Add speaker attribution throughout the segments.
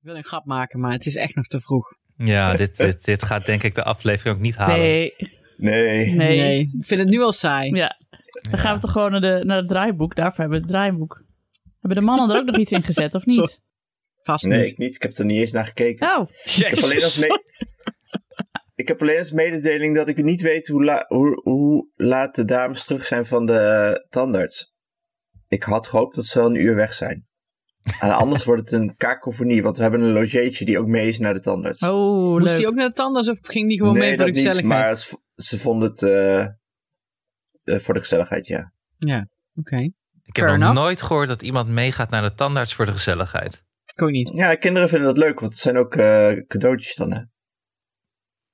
Speaker 1: wil een grap maken, maar het is echt nog te vroeg.
Speaker 2: Ja, dit, dit, dit gaat denk ik de aflevering ook niet halen.
Speaker 3: Nee,
Speaker 4: Nee.
Speaker 3: nee.
Speaker 1: Nee, ik vind het nu al saai.
Speaker 3: Ja. Dan gaan we toch gewoon naar, de, naar het draaiboek. Daarvoor hebben we het draaiboek. Hebben de mannen er ook nog iets in gezet, of niet?
Speaker 1: Vast
Speaker 4: Nee,
Speaker 1: niet.
Speaker 4: ik niet. Ik heb er niet eens naar
Speaker 1: Ah,
Speaker 4: gekeken.
Speaker 3: Oh,
Speaker 4: Ik heb alleen als, me- ik heb alleen als mededeling dat ik niet weet hoe, la- hoe, hoe laat de dames terug zijn van de eh, tandarts. Ik had gehoopt dat ze al een uur weg zijn. En anders wordt het een kakofonie, want we hebben een logeetje die ook mee is naar de tandarts.
Speaker 3: oh
Speaker 1: Moest
Speaker 3: leuk.
Speaker 1: hij ook naar de tandarts of ging die gewoon
Speaker 4: nee,
Speaker 1: mee voor de
Speaker 4: dat niet,
Speaker 1: gezelligheid?
Speaker 4: maar ze, ze vonden het eh, eh, voor de gezelligheid, ja.
Speaker 1: Oké,
Speaker 2: Ik heb
Speaker 1: Fair
Speaker 2: nog
Speaker 1: enough.
Speaker 2: nooit gehoord dat iemand meegaat naar de tandarts voor de gezelligheid.
Speaker 1: ik ook niet.
Speaker 4: Ja, kinderen vinden dat leuk, want het zijn ook eh, cadeautjes dan, hè.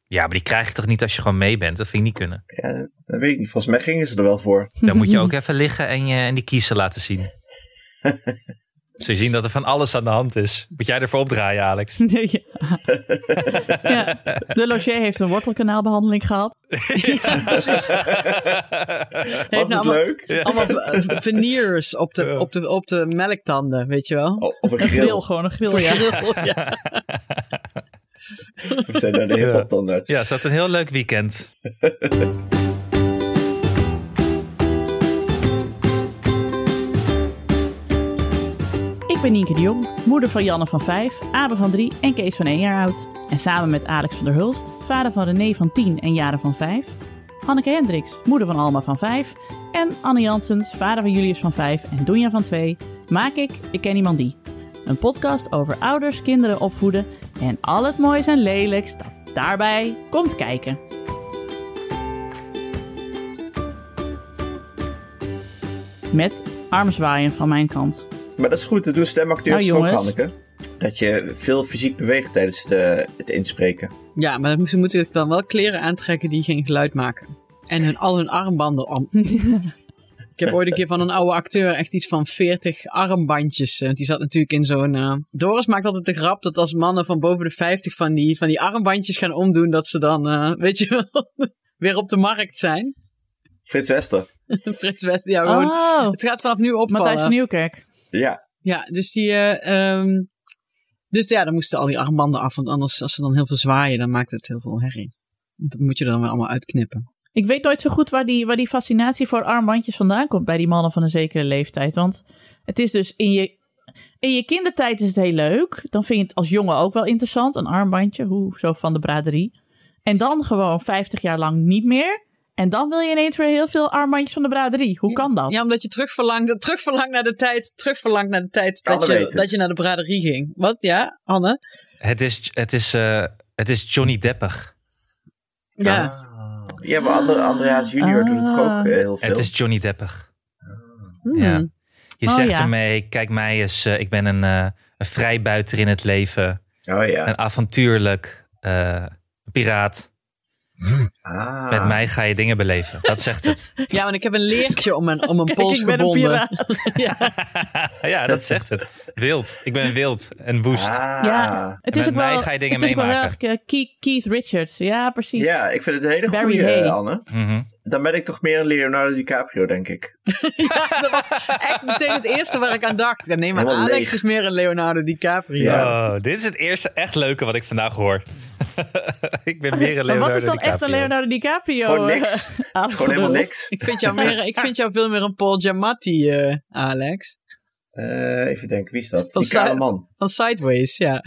Speaker 2: Ja, maar die krijg je toch niet als je gewoon mee bent? Dat vind ik niet kunnen.
Speaker 4: Ja, dat weet ik niet. Volgens mij gingen ze er wel voor.
Speaker 2: Dan moet je ook even liggen en, je, en die kiezen laten zien. Zul je zien dat er van alles aan de hand is. Moet jij ervoor opdraaien, Alex?
Speaker 3: Nee, ja. Ja, De logier heeft een wortelkanaalbehandeling gehad.
Speaker 4: Was het
Speaker 1: nou allemaal-
Speaker 4: leuk?
Speaker 1: Allemaal v- v- veneers op de, op, de, op de melktanden, weet je wel?
Speaker 4: O- Oh, Of een
Speaker 3: Een grill,
Speaker 4: grill.
Speaker 3: gewoon een grill, ja.
Speaker 1: ja.
Speaker 4: We zijn naar de hip-hop tandarts.
Speaker 2: Ja, ze had een heel leuk weekend.
Speaker 3: Ik ben Nienke de Jong, moeder van Janne van 5, Abe van 3 en Kees van 1 jaar oud. En samen met Alex van der Hulst, vader van René van 10 en Jaren van 5. Hanneke Hendricks, moeder van Alma van 5. En Anne Janssens, vader van Julius van 5 en Donja van 2. Maak ik Ik Ken Iemand Die. Een podcast over ouders, kinderen opvoeden en al het moois en lelijks dat daarbij komt kijken. Met armzwaaien van mijn kant.
Speaker 4: Maar dat is goed, dat doen stemacteurs toch
Speaker 3: Nou,
Speaker 4: ook,
Speaker 3: jongens.
Speaker 4: Hanneke. Dat je veel fysiek beweegt tijdens de, het inspreken.
Speaker 1: ja, maar dan- ze moeten dan wel kleren aantrekken die geen geluid maken. En hun, al hun armbanden om. ik heb ooit een keer van een oude acteur echt iets van 40 armbandjes. eh, Want die zat natuurlijk in zo'n... eh, Doris maakt altijd de grap dat als mannen van boven de 50 van die, van die armbandjes gaan omdoen... dat ze dan, eh, weet je wel, weer op de markt zijn.
Speaker 4: Frits Wester.
Speaker 1: Frits West, ja, gewoon...
Speaker 3: Oh,
Speaker 1: Het gaat vanaf nu opvallen.
Speaker 3: Matthijs van Nieuwkerk.
Speaker 4: Ja,
Speaker 1: Ja, dus die. eh, ehm, dus ja, dan moesten al die armbanden af. Want anders, als ze dan heel veel zwaaien, dan maakt het heel veel herrie. Want dat moet je er dan weer allemaal uitknippen.
Speaker 3: Ik weet nooit zo goed waar die, waar die fascinatie voor armbandjes vandaan komt bij die mannen van een zekere leeftijd. Want het is dus in je, in je kindertijd is het heel leuk. Dan vind je het als jongen ook wel interessant. Een armbandje, hoe zo van de braderie. En dan gewoon 50 jaar lang niet meer. En dan wil je ineens weer heel veel armbandjes van de braderie. Hoe kan dat?
Speaker 1: Ja, omdat je terugverlangt, terugverlangt naar de tijd. Terugverlangt naar de tijd dat
Speaker 4: Anne
Speaker 1: je,
Speaker 4: weet het.
Speaker 1: dat je naar de braderie ging. Wat? Ja, Anne?
Speaker 2: Het is, het is, eh, het is Johnny Deppig.
Speaker 1: Ja.
Speaker 4: ja maar Ander, Andreas junior doet het toch
Speaker 3: Ah.
Speaker 4: ook eh, heel veel.
Speaker 2: Ah. Het is Johnny Deppig.
Speaker 1: Hmm.
Speaker 2: Ja. Je
Speaker 3: Oh,
Speaker 2: zegt
Speaker 3: ja.
Speaker 2: ermee, kijk mij eens, eh, ik ben een, eh een vrijbuiter in het leven.
Speaker 4: Oh ja.
Speaker 2: Een avontuurlijk eh, piraat.
Speaker 4: Ah.
Speaker 2: Met mij ga je dingen beleven. Dat zegt het.
Speaker 1: Ja, want ik heb een leertje om mijn, om mijn
Speaker 3: Kijk,
Speaker 1: pols
Speaker 3: ik ben een
Speaker 1: gebonden.
Speaker 3: piraat.
Speaker 2: ja, dat zegt het. Wild. Ik ben wild en woest.
Speaker 4: Ah.
Speaker 3: Ja,
Speaker 4: Ja.
Speaker 3: het
Speaker 2: En
Speaker 3: is
Speaker 2: met
Speaker 3: ook wel,
Speaker 2: mij ga je dingen
Speaker 3: het is ook wel
Speaker 2: meemaken.
Speaker 3: heel erg, eh, Keith- Keith Richards. Ja, precies.
Speaker 4: ik vind het een hele
Speaker 3: Barry
Speaker 4: goede,
Speaker 3: Hay.
Speaker 4: Anne.
Speaker 2: Mhm.
Speaker 4: Dan ben ik toch meer een Leonardo DiCaprio, denk ik.
Speaker 1: Ja, dat was echt meteen het eerste waar ik aan dacht. Ja, nee, maar
Speaker 4: Helemaal
Speaker 1: Alex
Speaker 4: leeg.
Speaker 1: is meer een Leonardo DiCaprio.
Speaker 4: Ja.
Speaker 2: Oh, dit is het eerste echt leuke wat ik vandaag hoor. ik ben meer een
Speaker 3: maar
Speaker 2: Leonardo
Speaker 3: wat is dan
Speaker 2: DiCaprio.
Speaker 3: echt een Leonardo DiCaprio?
Speaker 4: Gewoon
Speaker 3: eh,
Speaker 4: niks. Het is
Speaker 3: aanvulling?
Speaker 4: gewoon helemaal niks.
Speaker 1: Ik vind, jou meer, ik vind jou veel meer een Paul Giamatti, eh, Alex.
Speaker 4: Eh, even denken, wie is dat?
Speaker 1: Van
Speaker 4: Die kale
Speaker 1: Sy-
Speaker 4: man.
Speaker 1: Van Sideways, ja.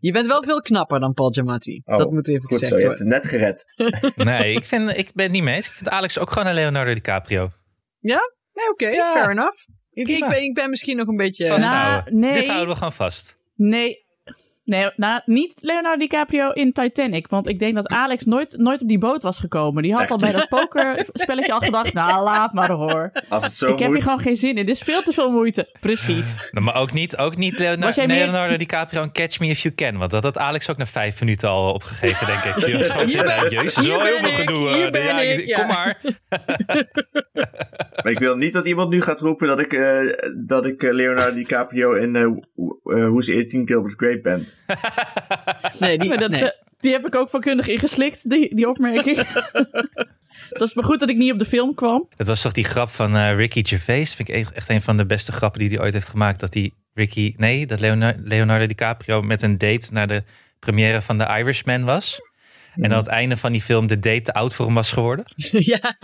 Speaker 1: Je bent wel veel knapper dan Paul Giamatti.
Speaker 4: Oh,
Speaker 1: dat moet even
Speaker 4: Goed
Speaker 1: gezegd
Speaker 4: zo, je hebt
Speaker 1: worden.
Speaker 4: het net gered.
Speaker 2: Nee, ik, vind, ik ben het niet mee eens. Ik vind Alex ook gewoon een Leonardo DiCaprio.
Speaker 1: Nee, oké,
Speaker 2: Ja.
Speaker 1: fair enough. Ik, ik,
Speaker 2: Prima.
Speaker 1: ben, ik ben misschien nog een beetje...
Speaker 3: Nou,
Speaker 2: Vast. Vasthouden.
Speaker 3: nee.
Speaker 2: Dit houden we gewoon vast.
Speaker 3: Nee. Nee, nou, niet Leonardo DiCaprio in Titanic. Want ik denk dat Alex nooit, nooit op die boot was gekomen. Die had al bij dat pokerspelletje al gedacht. Nou, laat maar hoor.
Speaker 4: Als het zo
Speaker 3: ik heb
Speaker 4: moet.
Speaker 3: hier gewoon geen zin in. Dit is veel te veel moeite. Precies.
Speaker 2: Nou, Maar ook niet, ook niet Leona-
Speaker 3: Was jij meer-
Speaker 2: Leonardo DiCaprio en Catch Me If You Can. Want dat had Alex ook na vijf minuten al opgegeven, denk ik. Die was gewoon
Speaker 1: Hier
Speaker 2: zitten,
Speaker 1: ben-
Speaker 2: jezus,
Speaker 1: hier
Speaker 2: zo heel
Speaker 1: ben
Speaker 2: veel
Speaker 1: ik,
Speaker 2: gedoe.
Speaker 1: hier
Speaker 2: eh,
Speaker 1: ben
Speaker 2: ja,
Speaker 1: ik, ja.
Speaker 2: Kom maar.
Speaker 4: Maar ik wil niet dat iemand nu gaat roepen dat ik, eh, dat ik eh, Leonardo DiCaprio in eh, Who- eh, Who's 18 Gilbert Grape ben.
Speaker 1: Nee, die,
Speaker 3: Maar dat,
Speaker 1: nee.
Speaker 3: eh, die heb ik ook vakkundig ingeslikt, die, die opmerking. dat is maar goed dat ik niet op de film kwam.
Speaker 2: Het was toch die grap van eh, Ricky Gervais. Vind ik e- echt een van de beste grappen die hij ooit heeft gemaakt. Dat hij Ricky, nee, dat Leona- Leonardo DiCaprio met een date naar de première van The Irishman was. En aan het einde van die film de date te oud voor hem was geworden.
Speaker 1: ja.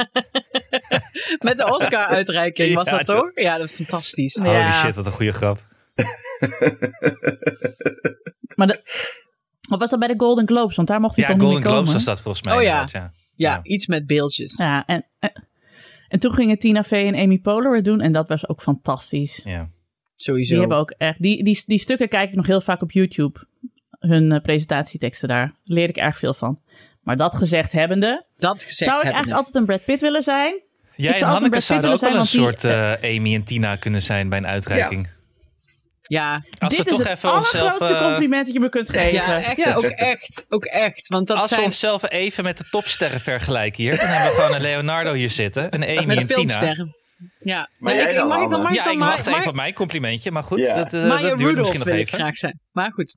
Speaker 1: Met de Oscar-uitreiking was
Speaker 2: Ja,
Speaker 1: dat
Speaker 2: dat-
Speaker 1: toch? Ja, dat is fantastisch.
Speaker 3: Ja.
Speaker 2: Holy shit, wat een goede grap.
Speaker 3: Maar de- Of was dat bij de Golden Globes? Want daar mocht hij
Speaker 2: Ja,
Speaker 3: toch
Speaker 2: Golden
Speaker 3: niet meer
Speaker 2: Globes
Speaker 3: komen.
Speaker 2: was dat volgens mij.
Speaker 1: Oh ja.
Speaker 2: inderdaad, ja.
Speaker 1: Ja, iets met beeldjes.
Speaker 3: Ja, en, en, en toen gingen Tina Fey en Amy Poehler het doen. En dat was ook fantastisch.
Speaker 2: ja.
Speaker 1: Sowieso.
Speaker 3: Die hebben ook echt... Die, die, die stukken kijk ik nog heel vaak op YouTube. Hun eh, presentatieteksten daar. Leer ik erg veel van. Maar dat gezegd hebbende...
Speaker 1: Dat gezegd
Speaker 3: zou ik
Speaker 1: hebben.
Speaker 3: eigenlijk altijd een Brad Pitt willen zijn?
Speaker 2: Jij
Speaker 3: zou
Speaker 2: en
Speaker 3: altijd
Speaker 2: Hanneke
Speaker 3: Brad Pitt
Speaker 2: zouden ook wel
Speaker 3: willen
Speaker 2: een
Speaker 3: zijn, want
Speaker 2: soort eh, Amy en Tina kunnen zijn bij een uitreiking.
Speaker 1: Ja,
Speaker 2: Als we
Speaker 3: Dit is
Speaker 2: toch
Speaker 3: het
Speaker 2: even onszelf.
Speaker 3: allergrootste
Speaker 2: eh,
Speaker 3: compliment dat je me kunt geven.
Speaker 1: ja, echt, ook echt. Ook echt. Want dat
Speaker 2: als we
Speaker 1: zijn
Speaker 2: onszelf even met de topsterren vergelijken hier. Dan hebben we gewoon een Leonardo hier zitten. Een
Speaker 1: met
Speaker 2: Amy en Tina.
Speaker 1: filmsterren. Ja,
Speaker 4: Maar
Speaker 1: Nee,
Speaker 4: jij
Speaker 1: ik,
Speaker 4: dan,
Speaker 1: ik mag het dan,
Speaker 4: Anne?
Speaker 1: mag het
Speaker 2: Ja,
Speaker 1: dan
Speaker 2: ik
Speaker 1: maar-
Speaker 2: wacht
Speaker 1: maar-
Speaker 2: even op mijn complimentje. Maar goed,
Speaker 4: Ja.
Speaker 2: dat, eh,
Speaker 1: Maya
Speaker 2: dat duurt
Speaker 1: Rudolph
Speaker 2: misschien nog
Speaker 1: wil ik
Speaker 2: even.
Speaker 1: graag zijn. Maar goed,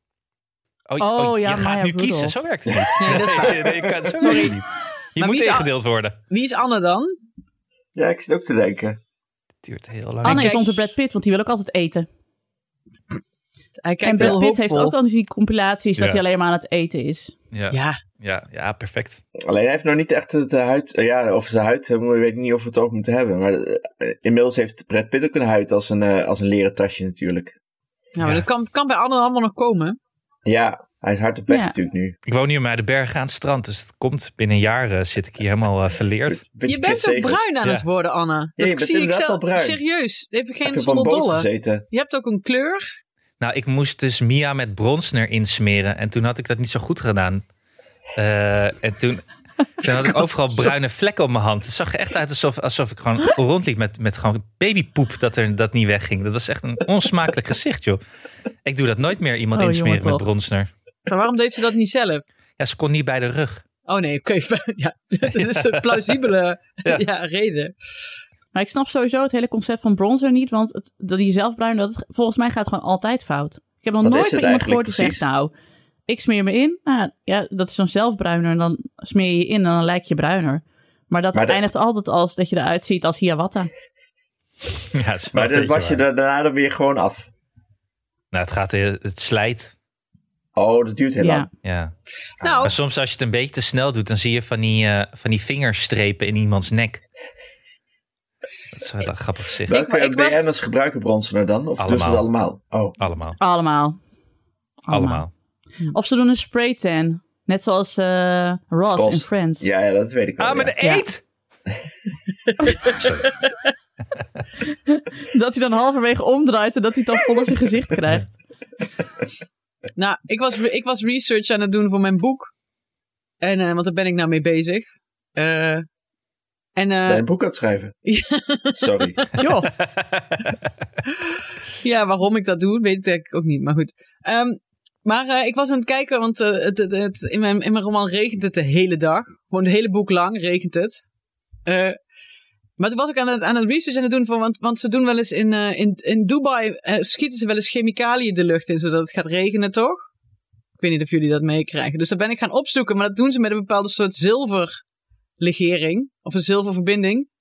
Speaker 2: Oh,
Speaker 3: Oh,
Speaker 2: oh,
Speaker 3: ja,
Speaker 2: je gaat
Speaker 3: Maya
Speaker 2: nu
Speaker 3: Rudolph.
Speaker 2: kiezen. Zo werkt het niet.
Speaker 1: nee, dat is waar.
Speaker 2: Nee, nee, ik kan, zo
Speaker 1: Sorry.
Speaker 2: werkt het niet. Je
Speaker 1: Maar
Speaker 2: moet
Speaker 1: wie zou-
Speaker 2: ingedeeld worden.
Speaker 1: Wie is Anne dan?
Speaker 4: Ja, ik zit ook te denken.
Speaker 2: Het duurt heel lang.
Speaker 3: Anne
Speaker 1: Kijk-
Speaker 3: is onze Brad Pitt, want die wil ook altijd eten.
Speaker 1: Hij
Speaker 3: En
Speaker 1: kijkt
Speaker 3: Brad
Speaker 1: heel
Speaker 3: Pitt
Speaker 1: hoopvol.
Speaker 3: heeft ook al die compilaties dat
Speaker 2: Ja.
Speaker 3: hij alleen maar aan het eten is.
Speaker 2: Ja, ja.
Speaker 1: Ja,
Speaker 2: Ja, perfect.
Speaker 4: Alleen hij heeft nog niet echt de huid. Ja, of zijn huid. eh, Ik weet niet of we het over moeten hebben. Maar eh, inmiddels heeft Brad Pitt ook een huid als een, eh, als een leren tasje natuurlijk.
Speaker 1: nou, maar
Speaker 2: Ja.
Speaker 1: dat kan, kan bij Anne allemaal nog komen.
Speaker 4: Ja, hij is hard op weg
Speaker 3: Ja.
Speaker 4: natuurlijk nu.
Speaker 2: Ik woon nu maar de bergen aan het strand. Dus het komt binnen een jaar eh, zit ik hier helemaal eh, verleerd.
Speaker 4: Beetje
Speaker 1: je bent
Speaker 4: Chris
Speaker 1: ook
Speaker 4: Segers.
Speaker 1: bruin aan
Speaker 2: Ja.
Speaker 1: het worden, Anne.
Speaker 4: Ja, je
Speaker 1: Dat
Speaker 4: bent
Speaker 1: zie ik
Speaker 4: inderdaad
Speaker 1: zelf.
Speaker 4: wel bruin.
Speaker 1: Serieus, even
Speaker 4: Ik
Speaker 1: geen
Speaker 4: heb op een
Speaker 1: zonder
Speaker 4: boot
Speaker 1: dolle.
Speaker 4: gezeten.
Speaker 1: Je hebt ook een kleur.
Speaker 2: Nou, ik moest dus Mia met bronsner insmeren. En toen had ik dat niet zo goed gedaan. Eh, en toen, toen had ik overal bruine vlekken op mijn hand. Het zag er echt uit alsof, alsof ik gewoon rondliep met, met gewoon babypoep dat er dat niet wegging. Dat was echt een onsmakelijk gezicht, joh. Ik doe dat nooit meer iemand
Speaker 3: Oh,
Speaker 2: insmeren
Speaker 3: jongen,
Speaker 2: met
Speaker 3: toch.
Speaker 2: bronsner.
Speaker 1: Maar waarom deed ze dat niet zelf?
Speaker 2: Ja, ze kon niet bij de rug.
Speaker 1: Oh nee, oké. ja, dat is een plausibele ja.
Speaker 2: Ja.
Speaker 1: reden.
Speaker 3: Maar ik snap sowieso het hele concept van bronzer niet, want het, dat die zelfbruin, dat, volgens mij gaat het gewoon altijd fout. Ik heb nog
Speaker 4: Wat
Speaker 3: nooit
Speaker 4: is het
Speaker 3: bij iemand gehoord
Speaker 4: eigenlijk
Speaker 3: die zegt, nou, ik smeer me in. Nou, ja, dat is zo'n zelfbruiner en dan smeer je je in en dan lijk je bruiner. Maar dat
Speaker 4: Maar de-
Speaker 3: eindigt altijd als dat je eruit ziet als hiawatta.
Speaker 2: Ja, dat is wel een
Speaker 4: Maar dat
Speaker 2: beetje
Speaker 4: was je
Speaker 2: waar.
Speaker 4: daar- daarna dan weer gewoon af.
Speaker 2: Nou, het gaat eh, het slijt.
Speaker 4: Oh, dat duurt heel lang.
Speaker 3: Ja.
Speaker 2: Ja.
Speaker 1: Nou,
Speaker 4: Ah.
Speaker 2: Maar soms als je het een beetje te snel doet, dan zie je van die, eh, van die vingerstrepen in iemands nek. Dat is wel een grappig gezicht.
Speaker 1: Ik-
Speaker 4: Welke
Speaker 1: maar ik was-
Speaker 4: BN'ers gebruiken bronzener dan? Of doen ze dat allemaal? Oh,
Speaker 2: Allemaal.
Speaker 3: Allemaal.
Speaker 2: Allemaal.
Speaker 3: Of ze doen een spray tan. Net zoals eh, Ross,
Speaker 4: Ross.
Speaker 3: in Friends.
Speaker 4: ja, ja dat weet ik wel.
Speaker 2: Ah, maar
Speaker 4: ja.
Speaker 2: de eet!
Speaker 3: Dat hij dan halverwege omdraait en dat hij het dan vol in zijn gezicht krijgt.
Speaker 1: nou ik, was, ik was research aan het doen voor mijn boek. En, eh, want daar ben ik nou mee bezig. Eh, en eh,
Speaker 4: Bij een boek aan het schrijven. Sorry.
Speaker 3: Joh,
Speaker 1: Ja, waarom ik dat doe, weet ik eigenlijk ook niet. Maar goed. Ehm, maar eh, ik was aan het kijken, want eh, het, het, het- in, mijn, in mijn roman regent het de hele dag. Gewoon het hele boek lang regent het. Eh, maar toen was ik aan het, aan het research aan het doen, voor, want, want ze doen wel eens in, eh, in, in Dubai, eh, schieten ze wel eens chemicaliën de lucht in, zodat het gaat regenen, toch? Ik weet niet of jullie dat meekrijgen. Dus dat ben ik gaan opzoeken, maar dat doen ze met een bepaalde soort zilverlegering. Of een zilververbinding.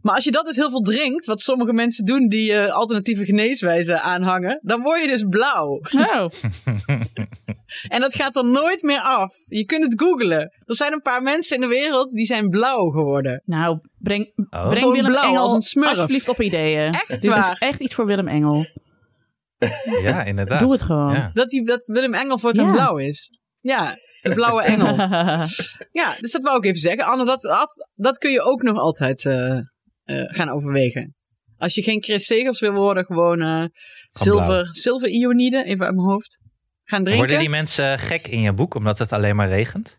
Speaker 1: Maar als je dat dus heel veel drinkt, wat sommige mensen doen die eh, alternatieve geneeswijzen aanhangen, dan word je dus blauw.
Speaker 3: nou.
Speaker 1: En dat gaat er nooit meer af. Je kunt het googlen. Er zijn een paar mensen in de wereld die zijn blauw geworden.
Speaker 3: Nou, breng,
Speaker 2: Oh.
Speaker 3: breng
Speaker 1: Gewoon
Speaker 3: Willem
Speaker 1: blauw
Speaker 3: Engel
Speaker 1: als een smurf.
Speaker 3: alsjeblieft op ideeën.
Speaker 1: Echt
Speaker 3: Dit
Speaker 1: waar.
Speaker 3: is echt iets voor Willem Engel.
Speaker 2: Ja, inderdaad.
Speaker 3: Doe het gewoon.
Speaker 2: Ja.
Speaker 1: Dat, die, dat Willem Engel voortaan
Speaker 3: Ja.
Speaker 1: blauw is. Ja, de blauwe engel. ja, dus dat wou ik even zeggen. Anne, dat, dat, dat kun je ook nog altijd eh, eh, gaan overwegen. Als je geen Chris Segers wil worden, gewoon eh,
Speaker 2: blauw.
Speaker 1: zilver, zilverionide, even uit mijn hoofd, gaan drinken.
Speaker 2: Worden die mensen gek in je boek omdat het alleen maar regent?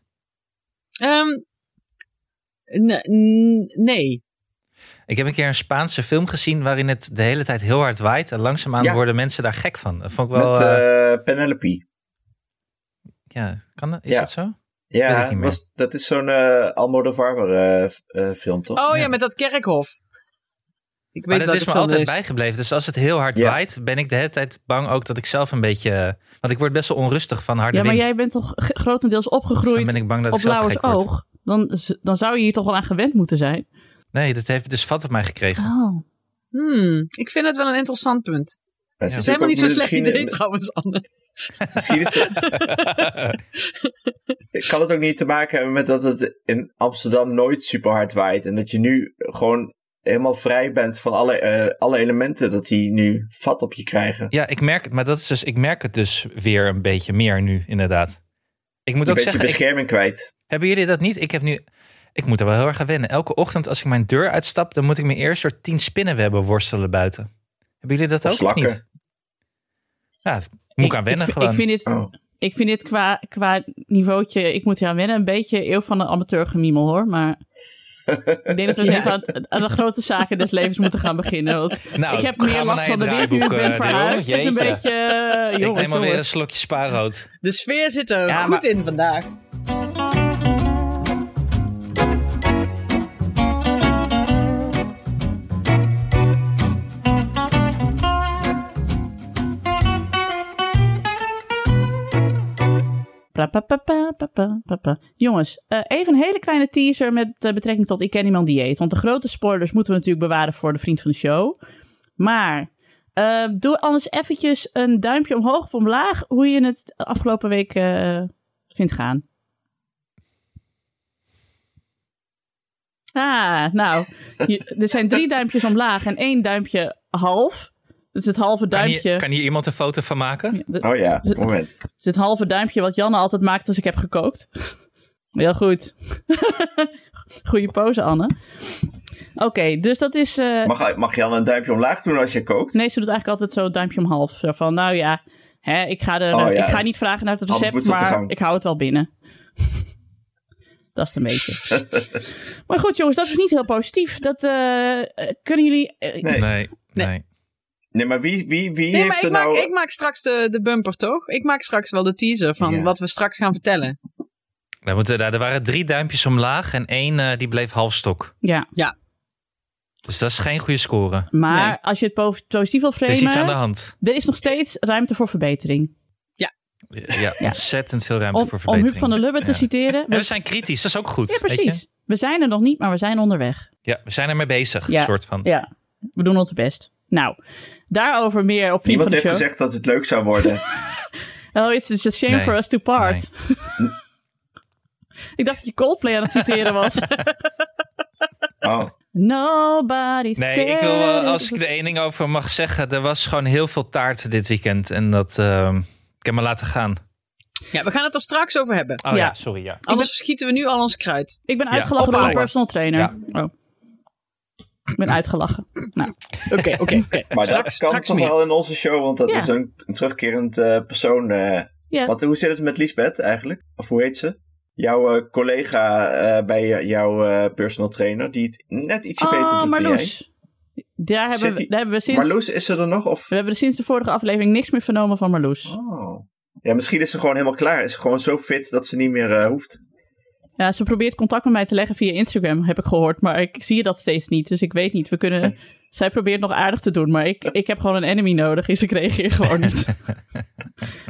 Speaker 1: Ehm, ne- n- nee.
Speaker 2: Ik heb een keer een Spaanse film gezien waarin het de hele tijd heel hard waait. En langzaamaan
Speaker 4: Ja.
Speaker 2: worden mensen daar gek van. Dat vond ik wel...
Speaker 4: Met
Speaker 2: eh,
Speaker 4: eh, Penelope.
Speaker 2: ja, kan dat? Is
Speaker 4: ja.
Speaker 2: dat zo? weet ik
Speaker 4: Ja,
Speaker 2: niet meer.
Speaker 4: was, dat is zo'n eh Almodovar eh, f- eh, film, toch?
Speaker 1: Oh ja,
Speaker 2: Ja.
Speaker 1: met dat kerkhof. Ik
Speaker 2: Maar
Speaker 1: weet
Speaker 2: dat
Speaker 1: welke
Speaker 2: is me
Speaker 1: film
Speaker 2: altijd
Speaker 1: het is.
Speaker 2: bijgebleven. Dus als het heel hard
Speaker 4: Ja.
Speaker 2: waait, ben ik de hele tijd bang ook dat ik zelf een beetje... eh, Want ik word best wel onrustig van harde
Speaker 3: ja, maar
Speaker 2: wind.
Speaker 3: jij bent toch g- grotendeels
Speaker 2: Dus dan
Speaker 3: opgegroeid
Speaker 2: ben ik bang dat
Speaker 3: op
Speaker 2: ik zelf
Speaker 3: blauwers
Speaker 2: gek word.
Speaker 3: oog. Dan, z- dan zou je hier toch wel aan gewend moeten zijn.
Speaker 2: Nee, dat heeft dus vat op mij gekregen.
Speaker 3: Oh.
Speaker 1: Hmm, ik vind het wel een interessant punt.
Speaker 4: Dat
Speaker 1: Dat is
Speaker 4: natuurlijk
Speaker 1: helemaal niet zo'n
Speaker 4: ook
Speaker 1: slecht
Speaker 4: misschien-
Speaker 1: idee trouwens, Anne.
Speaker 4: Misschien is het... kan het ook niet te maken hebben met dat het in Amsterdam nooit super hard waait. En dat je nu gewoon helemaal vrij bent van alle, eh, alle elementen dat die nu vat op je krijgen.
Speaker 2: Ja, ik merk het, maar dat is dus, ik merk het dus weer een beetje meer nu, inderdaad. Ik moet
Speaker 4: Een
Speaker 2: ook
Speaker 4: beetje
Speaker 2: zeggen, ik-
Speaker 4: bescherming kwijt.
Speaker 2: hebben jullie dat niet? Ik heb nu, ik moet er wel heel erg aan wennen. Elke ochtend als ik mijn deur uitstap, dan moet ik me eerst door tien spinnenwebben worstelen buiten. Hebben jullie dat
Speaker 4: Of
Speaker 2: ook of
Speaker 4: slakken.
Speaker 2: niet? Ja, het moet ik aan wennen
Speaker 3: ik,
Speaker 2: gewoon.
Speaker 3: Ik vind dit,
Speaker 4: Oh.
Speaker 3: ik vind dit qua, qua niveautje, ik moet hier aan wennen, een beetje eeuw van een amateurgemiemel hoor. Maar ik denk dat we
Speaker 1: Ja.
Speaker 3: even aan, aan de grote zaken des levens moeten gaan beginnen. Want
Speaker 2: nou,
Speaker 3: ik heb
Speaker 2: gaan
Speaker 3: meer
Speaker 2: we
Speaker 3: last
Speaker 2: naar
Speaker 3: van de
Speaker 2: je
Speaker 3: wind nu ik
Speaker 2: draaiboek, eh,
Speaker 3: ben verhuisd.
Speaker 2: Dion.
Speaker 3: Het is een
Speaker 2: Jeetje.
Speaker 3: beetje... eh,
Speaker 2: Ik
Speaker 3: jongens,
Speaker 2: neem alweer een
Speaker 3: jongens.
Speaker 2: slokje spaarrood.
Speaker 1: De sfeer zit er
Speaker 2: Ja,
Speaker 1: goed
Speaker 2: maar-
Speaker 1: in vandaag.
Speaker 3: Pa, pa, pa, pa, pa, pa, pa, pa. Jongens, eh, even een hele kleine teaser met eh, betrekking tot Ik Ken Iemand Dieet. Want de grote spoilers moeten we natuurlijk bewaren voor de vriend van de show. Maar eh, doe anders eventjes een duimpje omhoog of omlaag hoe je het afgelopen week eh, vindt gaan. Ah, nou, je- er zijn drie duimpjes omlaag en één duimpje half. Dat is het halve
Speaker 2: Kan
Speaker 3: duimpje.
Speaker 2: hier, kan hier iemand een foto van maken?
Speaker 3: Ja, de-
Speaker 4: Oh ja, moment.
Speaker 3: dus dit halve duimpje wat Janne altijd maakt als ik heb gekookt. Heel goed. Goeie pose, Anne. Oké, dus dat is... eh,
Speaker 4: Mag, mag Jan een duimpje omlaag doen als je kookt?
Speaker 3: Nee, ze doet eigenlijk altijd zo duimpje omhalf. Zo van, nou ja, hè, ik, ga er,
Speaker 4: Oh,
Speaker 3: eh,
Speaker 4: ja.
Speaker 3: ik ga niet vragen naar het
Speaker 4: Anders moet
Speaker 3: recept,
Speaker 4: ze op de
Speaker 3: maar
Speaker 4: gang.
Speaker 3: ik hou het wel binnen. dat is het een beetje. maar goed, jongens, dat is niet heel positief. Dat eh, eh, kunnen jullie... eh,
Speaker 4: Nee.
Speaker 2: nee.
Speaker 1: Nee.
Speaker 2: nee.
Speaker 4: Nee, maar wie, wie, wie
Speaker 1: Nee,
Speaker 4: heeft
Speaker 1: maar ik
Speaker 4: er
Speaker 1: maak,
Speaker 4: nou...
Speaker 1: ik maak straks de, de bumper, toch? Ik maak straks wel de teaser van
Speaker 4: Ja.
Speaker 1: wat we straks gaan vertellen.
Speaker 2: We moeten, daar, er waren drie duimpjes omlaag en één eh, die bleef halfstok.
Speaker 3: Ja,
Speaker 2: Dus dat is geen goede score.
Speaker 3: maar
Speaker 1: Nee.
Speaker 3: als je het po- positief wil
Speaker 2: Er
Speaker 3: framen,
Speaker 2: is iets aan de hand.
Speaker 3: er is nog steeds ruimte voor verbetering.
Speaker 2: Ja,
Speaker 3: Ja.
Speaker 2: ontzettend veel ruimte
Speaker 3: om,
Speaker 2: voor
Speaker 3: om
Speaker 2: verbetering.
Speaker 3: Huub van der Lubbe te
Speaker 2: Ja.
Speaker 3: citeren.
Speaker 2: En we
Speaker 3: We,
Speaker 2: zijn kritisch, dat is ook goed.
Speaker 3: ja,
Speaker 2: Weet je?
Speaker 3: precies. We zijn er nog niet, maar we zijn onderweg.
Speaker 2: Ja, we zijn ermee bezig,
Speaker 3: Ja.
Speaker 2: soort van.
Speaker 3: Ja, we doen ons best. Nou, daarover meer op Vriend van
Speaker 4: Niemand
Speaker 3: de
Speaker 4: heeft
Speaker 3: Show.
Speaker 4: gezegd dat het leuk zou worden.
Speaker 3: Oh, it's just a shame
Speaker 2: Nee,
Speaker 3: for us to part. Ik dacht dat je Coldplay aan het citeren was.
Speaker 4: Oh,
Speaker 3: Nobody
Speaker 2: Nee,
Speaker 3: said
Speaker 2: ik wil, wel,
Speaker 3: it
Speaker 2: als ik
Speaker 3: was-
Speaker 2: er één ding over mag zeggen, er was gewoon heel veel taart dit weekend. En dat, ehm, ik heb me laten gaan.
Speaker 1: Ja, we gaan het er straks over hebben.
Speaker 2: Oh ja,
Speaker 3: Ja.
Speaker 2: sorry, ja.
Speaker 1: Anders schieten we nu al ons kruid.
Speaker 3: Ik ben
Speaker 2: Ja,
Speaker 3: uitgelachen door een
Speaker 2: opgelachen.
Speaker 3: personal trainer. Oh. Ik ben uitgelachen. Nou,
Speaker 1: Oké, oké, oké.
Speaker 4: maar
Speaker 1: Straks-
Speaker 4: dat kan
Speaker 1: straks
Speaker 4: toch
Speaker 1: meer.
Speaker 4: wel in onze show, want dat
Speaker 3: Ja.
Speaker 4: is een, een terugkerend eh, persoon. eh.
Speaker 3: ja.
Speaker 4: Want hoe zit het met Lisbeth eigenlijk? Of hoe heet ze? Jouw eh, collega eh, bij eh, jouw eh, personal trainer, die het net ietsje beter
Speaker 3: Oh,
Speaker 4: doet dan jij.
Speaker 3: Marloes. Daar hebben,
Speaker 4: Zit
Speaker 3: we,
Speaker 4: die-
Speaker 3: daar hebben we sinds...
Speaker 4: Marloes, is ze er nog? Of...
Speaker 3: We hebben er sinds de vorige aflevering niks meer vernomen van Marloes.
Speaker 4: Oh. Ja, misschien is ze gewoon helemaal klaar. Is ze gewoon zo fit dat ze niet meer eh, hoeft.
Speaker 3: Ja, ze probeert contact met mij te leggen via Instagram, heb ik gehoord. Maar ik zie dat steeds niet, dus ik weet niet. We kunnen... Zij probeert nog aardig te doen, maar ik, ik heb gewoon een enemy nodig. Dus ik reageer gewoon niet.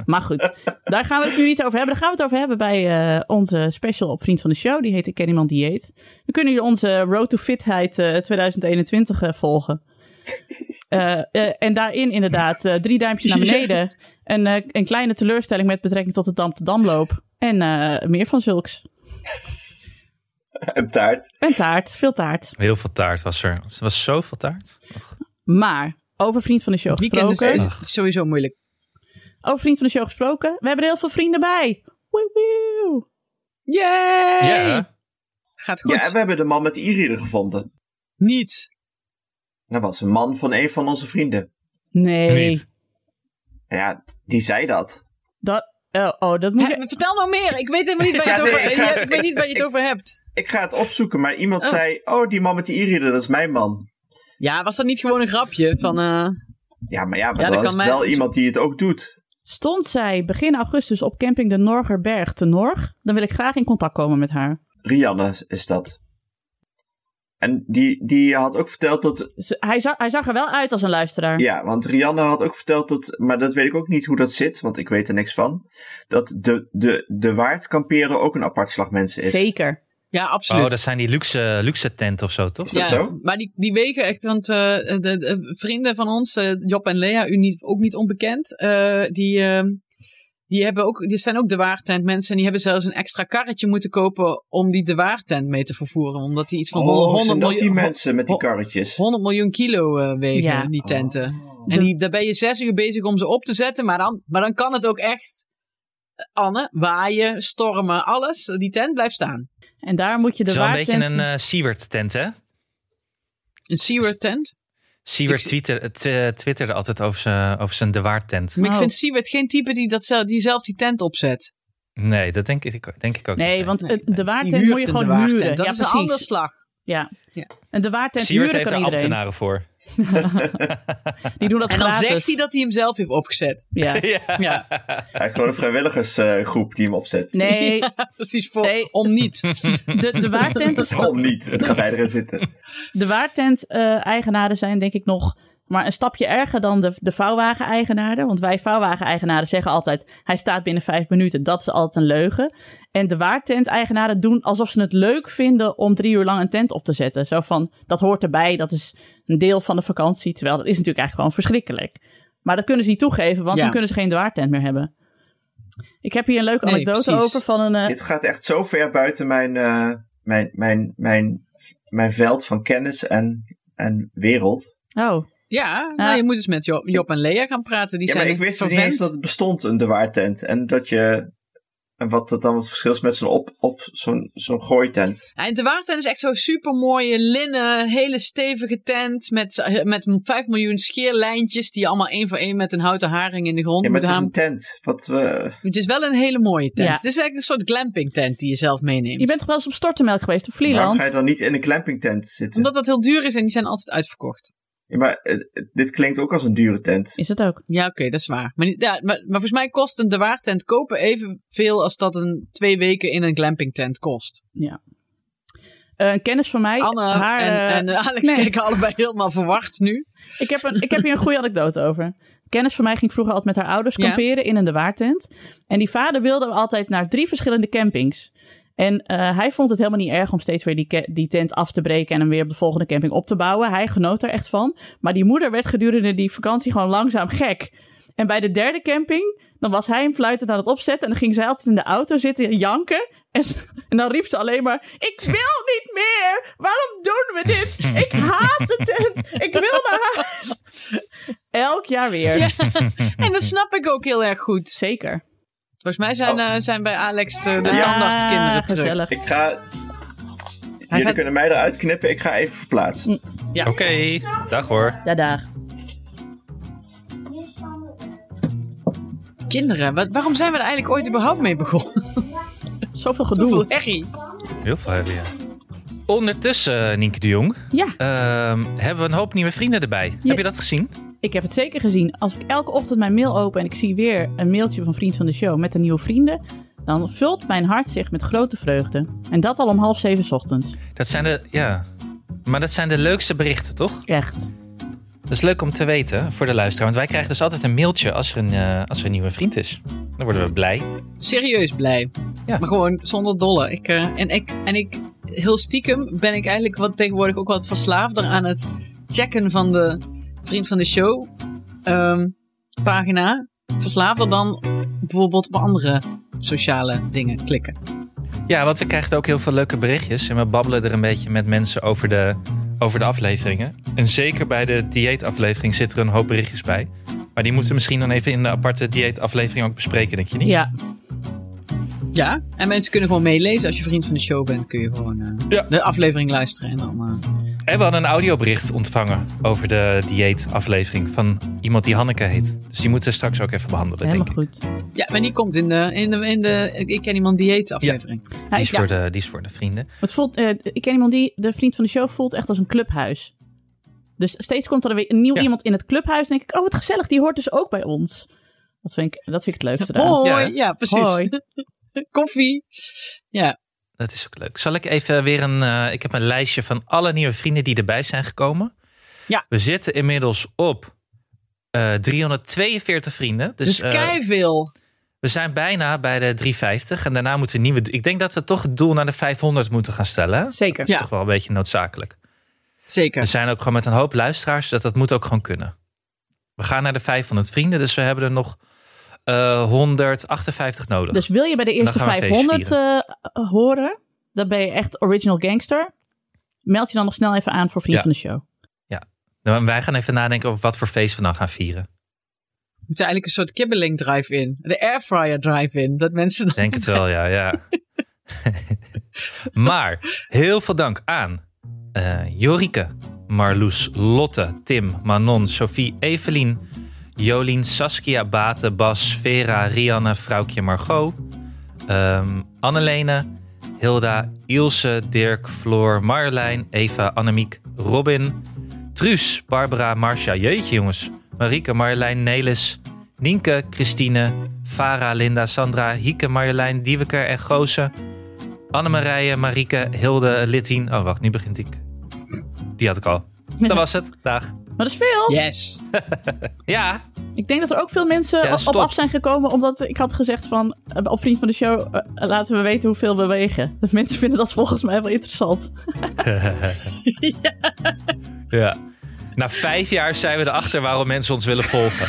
Speaker 3: maar goed, daar gaan we het nu niet over hebben. Daar gaan we het over hebben bij eh, onze special op Vriend van de Show. Die heet Ik Ken Iemand Dieet. Dan kunnen jullie onze Road to Fitheid eh, 2021 eh, volgen. Eh, eh, en daarin inderdaad eh, drie duimpjes naar beneden. Een, eh, een kleine teleurstelling met betrekking tot de Dam-te-Damloop. En eh, meer van zulks.
Speaker 4: Een taart.
Speaker 3: En taart, veel taart.
Speaker 2: Heel veel taart was er. Er was zoveel taart. Och,
Speaker 3: Maar over vriend van de show
Speaker 1: Weekend is,
Speaker 3: gesproken.
Speaker 1: is sowieso moeilijk.
Speaker 3: Over vriend van de show gesproken. We hebben er heel veel vrienden bij. Woe, woe.
Speaker 1: Yay!
Speaker 2: Ja, Oh,
Speaker 1: Gaat goed.
Speaker 4: Ja, en we hebben de man met de e-reader gevonden.
Speaker 1: Niet.
Speaker 4: Dat was een man van een van onze vrienden.
Speaker 3: Nee.
Speaker 2: niet.
Speaker 4: Ja, die zei dat.
Speaker 3: Dat, oh, oh, dat moet
Speaker 1: Hè,
Speaker 3: je.
Speaker 1: vertel nou meer. Ik weet helemaal niet waar je het
Speaker 4: Ja, nee,
Speaker 1: over,
Speaker 4: ik ga-
Speaker 1: ja, ik weet niet waar je het over hebt.
Speaker 4: Ik ga het opzoeken, maar iemand
Speaker 1: Oh.
Speaker 4: zei... Oh, die man met de e-reader, dat is mijn man.
Speaker 1: Ja, was dat niet gewoon een grapje van... eh,
Speaker 4: Ja, maar ja, maar
Speaker 1: Ja, dat
Speaker 4: dan is
Speaker 1: kan
Speaker 4: het
Speaker 1: mij-
Speaker 4: wel iemand die het ook doet.
Speaker 3: Stond zij begin augustus op camping de Norgerberg te Norg? Dan wil ik graag in contact komen met haar.
Speaker 4: Rianne is dat. En die, die had ook verteld dat...
Speaker 3: Ze- hij, zag, hij zag er wel uit als een luisteraar.
Speaker 4: Ja, want Rianne had ook verteld dat... Maar dat weet ik ook niet hoe dat zit, want ik weet er niks van. Dat de, de, de waard kamperen ook een apart slag mensen is.
Speaker 3: Zeker.
Speaker 1: Ja, absoluut.
Speaker 2: Oh, dat zijn die luxe, luxe tent of zo, toch?
Speaker 4: Is dat
Speaker 1: ja,
Speaker 4: zo?
Speaker 1: Maar die, die wegen echt, want eh, de, de vrienden van ons, eh, Job en Lea, u niet, ook niet onbekend, eh, die, eh, die, hebben ook, die zijn ook de waartent mensen. En die hebben zelfs een extra karretje moeten kopen om die de waartent mee te vervoeren. Omdat die iets van
Speaker 4: Oh,
Speaker 1: 100,
Speaker 4: zijn dat die
Speaker 1: miljoen,
Speaker 4: mensen met die
Speaker 1: ho-
Speaker 4: karretjes?
Speaker 1: 100 miljoen kilo eh, wegen,
Speaker 3: Ja.
Speaker 1: die tenten.
Speaker 4: Oh.
Speaker 1: En die, daar ben je zes uur bezig om ze op te zetten. Maar dan, maar dan kan het ook echt, eh, Anne, waaien, stormen, alles. Die tent blijft staan.
Speaker 3: En daar moet je
Speaker 2: Het
Speaker 3: de
Speaker 2: is wel een
Speaker 3: waartent...
Speaker 2: beetje een eh Seward tent, hè?
Speaker 1: Een Seaward tent.
Speaker 2: Seward
Speaker 1: Ik-
Speaker 2: twitter, tw- twitterde altijd over zijn, over zijn de Waard tent.
Speaker 1: Maar ik
Speaker 3: Oh.
Speaker 1: vind Seaward geen type die, dat zelf, die zelf die tent opzet.
Speaker 2: Nee, dat denk ik, denk ik ook niet.
Speaker 3: Nee, want
Speaker 1: Nee,
Speaker 3: eh, de
Speaker 1: Die
Speaker 3: waartent
Speaker 1: huurt
Speaker 3: moet je
Speaker 1: een
Speaker 3: gewoon
Speaker 1: bewaartent.
Speaker 3: huren.
Speaker 1: Dat
Speaker 3: ja,
Speaker 1: is
Speaker 3: precies.
Speaker 1: een andere slag.
Speaker 3: Ja.
Speaker 1: Ja.
Speaker 3: En de waartent
Speaker 2: Seward
Speaker 3: huren
Speaker 2: heeft
Speaker 3: kan
Speaker 2: er
Speaker 3: iedereen.
Speaker 2: ambtenaren voor.
Speaker 3: Die doen dat
Speaker 1: En dan
Speaker 3: gratis.
Speaker 1: zegt hij dat hij hem zelf heeft opgezet.
Speaker 3: Ja.
Speaker 2: Ja.
Speaker 1: Ja,
Speaker 4: Hij is gewoon een vrijwilligersgroep die hem opzet.
Speaker 3: Nee,
Speaker 1: precies. Voor,
Speaker 3: Nee.
Speaker 1: Om niet.
Speaker 3: de, de waartent, is,
Speaker 4: Waarom niet? Het gaat hij erin zitten.
Speaker 3: de waartent-eigenaren zijn denk ik nog maar een stapje erger dan de, de vouwwagen-eigenaren. Want wij vouwwagen-eigenaren zeggen altijd, hij staat binnen vijf minuten. Dat is altijd een leugen. En de waartent-eigenaren doen alsof ze het leuk vinden om drie uur lang een tent op te zetten. Zo van, dat hoort erbij, dat is een deel van de vakantie. Terwijl dat is natuurlijk eigenlijk gewoon verschrikkelijk. Maar dat kunnen ze niet toegeven, want
Speaker 1: Ja.
Speaker 3: dan kunnen ze geen waartent meer hebben. Ik heb hier een leuke
Speaker 1: Nee,
Speaker 3: anekdote
Speaker 1: precies.
Speaker 3: over van een... eh,
Speaker 4: Dit gaat echt zo ver buiten mijn, eh, mijn, mijn, mijn, mijn veld van kennis en, en wereld.
Speaker 3: oh,
Speaker 1: Ja, nou, je moet eens met Job, Job en Lea gaan praten. Die
Speaker 4: ja, maar
Speaker 1: zijn
Speaker 4: ik
Speaker 1: echt
Speaker 4: wist niet
Speaker 1: vervent.
Speaker 4: eens dat het bestond, een de waartent. En dat je. En wat dat dan het verschil is met zo'n op, op zo'n zo'n gooitent.
Speaker 1: En de waartent is echt zo'n supermooie linnen, hele stevige tent met, eh, met 5 miljoen scheerlijntjes die je allemaal één voor één met een houten haring in de grond
Speaker 4: Ja, maar
Speaker 1: moet
Speaker 4: het is
Speaker 1: halen.
Speaker 4: een tent. Wat we.
Speaker 1: Het is wel een hele mooie tent.
Speaker 3: Ja.
Speaker 1: Het is eigenlijk een soort glamping tent die je zelf meeneemt.
Speaker 3: je bent toch wel eens op Stortemelk geweest, op
Speaker 4: Waarom
Speaker 3: Vlieland?
Speaker 4: ga je dan niet in een clampingtent zitten?
Speaker 1: Omdat dat heel duur is en die zijn altijd uitverkocht.
Speaker 4: Ja, maar eh, eh, dit klinkt ook als een dure tent.
Speaker 3: Is het ook.
Speaker 1: Ja, oké, dat is waar. Maar, niet- ja, maar, maar volgens mij kost een de waartent kopen evenveel als dat een twee weken in een glamping tent kost.
Speaker 3: Eh, een kennis van mij.
Speaker 1: Anne
Speaker 3: haar, eh,
Speaker 1: en, en Alex
Speaker 3: nee.
Speaker 1: kijken allebei helemaal verward nu.
Speaker 3: ik, heb een, ik heb hier een goede anekdote over. Een Kennis van mij ging vroeger altijd met haar ouders
Speaker 1: Ja.
Speaker 3: kamperen in een de waartent. En die vader wilde altijd naar drie verschillende campings. En eh, hij vond het helemaal niet erg om steeds weer die, ca- die tent af te breken en hem weer op de volgende camping op te bouwen. Hij genoot er echt van. Maar die moeder werd gedurende die vakantie gewoon langzaam gek. En bij de derde camping, dan was hij hem fluitend aan het opzetten. En dan ging zij altijd in de auto zitten janken. En, ze- en dan riep ze alleen maar: Ik wil niet meer! Waarom doen we dit? Ik haat de tent! Ik wil naar huis! Elk jaar weer.
Speaker 1: Ja. En dat snap ik ook heel erg goed.
Speaker 3: Zeker.
Speaker 1: Volgens mij zijn,
Speaker 4: Oh.
Speaker 1: eh, zijn bij Alex de, de
Speaker 4: Ja.
Speaker 1: tandartskinderen terug.
Speaker 3: Ah, gezellig.
Speaker 4: Ik ga.
Speaker 1: Hij
Speaker 4: Jullie
Speaker 1: gaat-
Speaker 4: kunnen mij eruit knippen. Ik ga even verplaatsen.
Speaker 1: Ja.
Speaker 2: Oké, dag hoor.
Speaker 3: Ja, dag.
Speaker 1: Kinderen, wat- waarom zijn we er eigenlijk ooit überhaupt mee begonnen?
Speaker 3: Zoveel gedoe.
Speaker 1: Hoeveel herrie.
Speaker 2: Heel veel hebben ja. Ondertussen, eh, Nienke de Jong,
Speaker 3: Ja,
Speaker 2: ehm, hebben we een hoop nieuwe vrienden erbij. Heb je dat gezien?
Speaker 3: ik heb het zeker gezien. Als ik elke ochtend mijn mail open en ik zie weer een mailtje van Vriend van de Show met de nieuwe vrienden, dan vult mijn hart zich met grote vreugde. En dat al om half zeven 's ochtends.
Speaker 2: Dat zijn de, ja. Maar dat zijn de leukste berichten, toch?
Speaker 3: Echt.
Speaker 2: Dat is leuk om te weten voor de luisteraar. Want wij krijgen dus altijd een mailtje als er een, eh, als er een nieuwe vriend is. Dan worden we blij.
Speaker 1: serieus blij.
Speaker 2: Ja.
Speaker 1: Maar gewoon zonder dolle. Ik, eh, en, ik, en ik, heel stiekem ben ik eigenlijk wat tegenwoordig ook wat verslaafder aan het checken van de vriend van de show ehm, pagina. Verslaafder dan bijvoorbeeld op andere sociale dingen klikken.
Speaker 2: Ja, want we krijgen ook heel veel leuke berichtjes. En we babbelen er een beetje met mensen over de, over de afleveringen. En zeker bij de dieetaflevering zit er een hoop berichtjes bij. Maar die moeten we misschien dan even in de aparte dieetaflevering ook bespreken, denk je niet?
Speaker 3: Ja,
Speaker 1: Ja, en mensen kunnen gewoon meelezen. Als je vriend van de show bent, kun je gewoon eh,
Speaker 2: Ja.
Speaker 1: de aflevering luisteren. En dan, eh,
Speaker 2: En we hadden een audiobericht ontvangen over de dieetaflevering van iemand die Hanneke heet. Dus die moeten we straks ook even behandelen,
Speaker 3: helemaal
Speaker 2: denk ik.
Speaker 3: goed.
Speaker 1: ja, maar die
Speaker 2: Oh.
Speaker 1: komt in de, in de, in de Ik ken iemand dieet aflevering.
Speaker 3: Ja,
Speaker 2: Die is,
Speaker 3: ik-
Speaker 2: voor de, die is voor de vrienden.
Speaker 3: Het voelt, eh, ik ken iemand die de vriend van de show voelt echt als een clubhuis. Dus steeds komt er weer een nieuw
Speaker 2: Ja.
Speaker 3: iemand in het clubhuis. Dan denk ik, oh wat gezellig, die hoort dus ook bij ons. Dat vind ik, dat vind ik het leukste eraan.
Speaker 1: Hoi,
Speaker 2: Ja.
Speaker 1: ja, precies.
Speaker 3: Hoi.
Speaker 1: Koffie. Ja,
Speaker 2: Dat is ook leuk. Zal ik even weer een. eh, ik heb een lijstje van alle nieuwe vrienden die erbij zijn gekomen.
Speaker 1: Ja.
Speaker 2: We zitten inmiddels op eh, 342 vrienden. Dus,
Speaker 1: dus,
Speaker 2: eh,
Speaker 1: kei veel.
Speaker 2: We zijn bijna bij de 350 en daarna moeten we nieuwe. Ik denk dat we toch het doel naar de 500 moeten gaan stellen. hè?
Speaker 3: Zeker.
Speaker 2: Dat is
Speaker 1: Ja.
Speaker 2: toch wel een beetje noodzakelijk. We
Speaker 1: Zeker.
Speaker 2: zijn ook gewoon met een hoop luisteraars, dat dat moet ook gewoon kunnen. We gaan naar de 500 vrienden, dus we hebben er nog eh, 158 nodig.
Speaker 3: Dus wil je bij de eerste
Speaker 2: gaan we een feestje
Speaker 3: 500 eh, horen, dan ben je echt original gangster. Meld je dan nog snel even aan voor Vriend
Speaker 2: Ja.
Speaker 3: van de Show.
Speaker 2: Nou, wij gaan even nadenken over wat voor feest we dan gaan vieren.
Speaker 1: We moeten eigenlijk een soort kibbeling drive-in. De airfryer drive-in. Dat mensen dan...
Speaker 2: Ik Denk het wel, ja. ja. maar heel veel dank aan eh, Jorike, Marloes, Lotte, Tim, Manon, Sophie, Evelien, Jolien, Saskia, Baten, Bas, Vera, Rianne, Vrouwkje, Margot, ehm, Annelene, Hilda, Ilse, Dirk, Floor, Marjolein, Eva, Annemiek, Robin, Truus, Barbara, Marcia, jeetje jongens, Marieke, Marjolein, Nelis, Nienke, Christine, Farah, Linda, Sandra, Hieke, Marjolein, Dieweker en Goze. Annemarije, Marieke, Hilde, Litwien. Oh, wacht, nu begint ik. Die had ik al. Dat was het. Dag.
Speaker 3: Maar dat is veel.
Speaker 1: Yes.
Speaker 2: Ja,
Speaker 3: Ik denk dat er ook veel mensen
Speaker 2: Ja,
Speaker 3: op- op
Speaker 2: stop.
Speaker 3: af zijn gekomen. Omdat ik had gezegd van, eh, op Vriend van de Show eh, laten we weten hoeveel we wegen. Dus mensen vinden dat volgens mij wel interessant.
Speaker 2: ja. Na vijf jaar zijn we erachter waarom mensen ons willen volgen.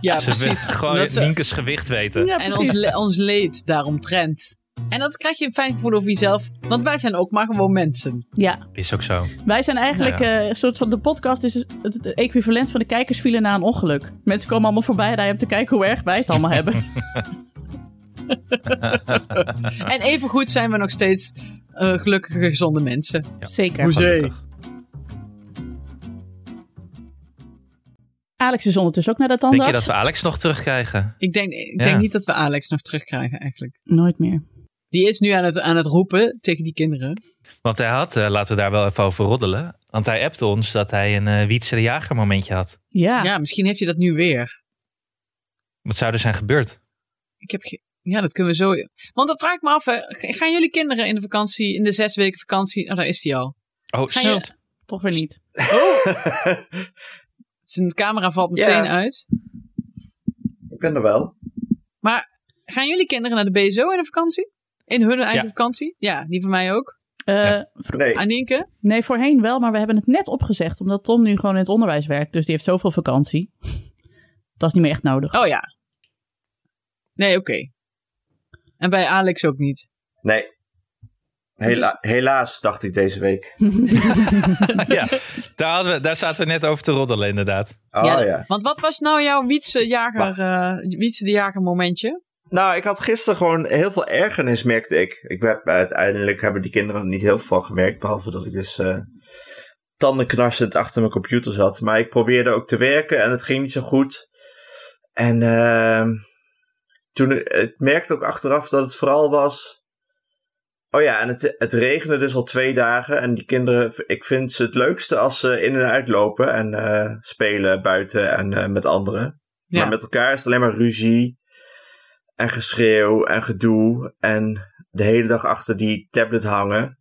Speaker 1: Ja,
Speaker 2: ze willen
Speaker 1: precies. eh,
Speaker 2: gewoon
Speaker 1: Omdat ze-
Speaker 2: Nienkes gewicht weten.
Speaker 3: Ja,
Speaker 1: En
Speaker 3: precies.
Speaker 1: ons, le- ons leed daaromtrent. En dat krijg je een fijn gevoel over jezelf. Want wij zijn ook maar gewoon mensen.
Speaker 3: Ja,
Speaker 2: Is ook zo.
Speaker 3: wij zijn eigenlijk
Speaker 2: Nou
Speaker 3: eh, een soort van, de podcast is het, het equivalent van de kijkers vielen na een ongeluk. Mensen komen allemaal voorbij rijden om te kijken hoe erg wij het allemaal hebben.
Speaker 1: En evengoed zijn we nog steeds eh, gelukkige, gezonde mensen.
Speaker 3: Zeker.
Speaker 1: Hoezee.
Speaker 2: Gelukkig.
Speaker 3: Alex is ondertussen ook naar de
Speaker 2: Denk je
Speaker 3: tandarts.
Speaker 2: dat we Alex nog terugkrijgen?
Speaker 1: Ik denk, ik
Speaker 2: Ja.
Speaker 1: denk niet dat we Alex nog terugkrijgen eigenlijk.
Speaker 3: Nooit meer.
Speaker 1: Die is nu aan het, aan het roepen tegen die kinderen.
Speaker 2: Want hij had, eh, laten we daar wel even over roddelen. Want hij appte ons dat hij een eh Wietse de Jager momentje had.
Speaker 3: Ja.
Speaker 1: Ja, misschien heeft hij dat nu weer.
Speaker 2: Wat zou er zijn gebeurd?
Speaker 1: Ik heb ge- ja, dat kunnen we zo... Want dan vraag ik me af, hè, g- gaan jullie kinderen in de vakantie, in de zes weken vakantie... Nou, daar is hij al.
Speaker 2: Oh,
Speaker 3: Ga je-
Speaker 2: sst.
Speaker 3: toch weer niet.
Speaker 1: Zijn Dus camera valt
Speaker 4: Ja.
Speaker 1: meteen uit.
Speaker 4: ik ben er wel.
Speaker 1: Gaan jullie kinderen naar de BSO in de vakantie? In hun eigen
Speaker 2: Ja.
Speaker 1: vakantie? Ja, die van mij ook.
Speaker 3: Eh,
Speaker 2: Ja.
Speaker 4: Nee.
Speaker 1: Anienke?
Speaker 3: Nee, voorheen wel, maar we hebben het net opgezegd. Omdat Tom nu gewoon in het onderwijs werkt. Dus die heeft zoveel vakantie. Dat is niet meer echt nodig.
Speaker 1: Oh ja. Nee, oké. En bij Alex ook niet.
Speaker 4: Nee. Hela- helaas, dacht ik deze week.
Speaker 2: ja, daar, hadden we, daar zaten we net over te roddelen, inderdaad.
Speaker 4: Oh ja.
Speaker 1: Ja, Want wat was nou jouw Wietse, jager, eh, Wietse de Jager momentje?
Speaker 4: Nou, ik had gisteren gewoon heel veel ergernis, merkte ik. ik heb, uiteindelijk hebben die kinderen er niet heel veel van gemerkt. Behalve dat ik dus eh tandenknarsend achter mijn computer zat. Maar ik probeerde ook te werken en het ging niet zo goed. En ehm toen eh, ik merkte ook achteraf dat het vooral was. Oh ja, en het, het regende dus al twee dagen. En die kinderen, ik vind ze het leukste als ze in en uitlopen en eh, spelen buiten en eh, met anderen.
Speaker 1: Ja.
Speaker 4: Maar met elkaar is het alleen maar ruzie en geschreeuw en gedoe en de hele dag achter die tablet hangen.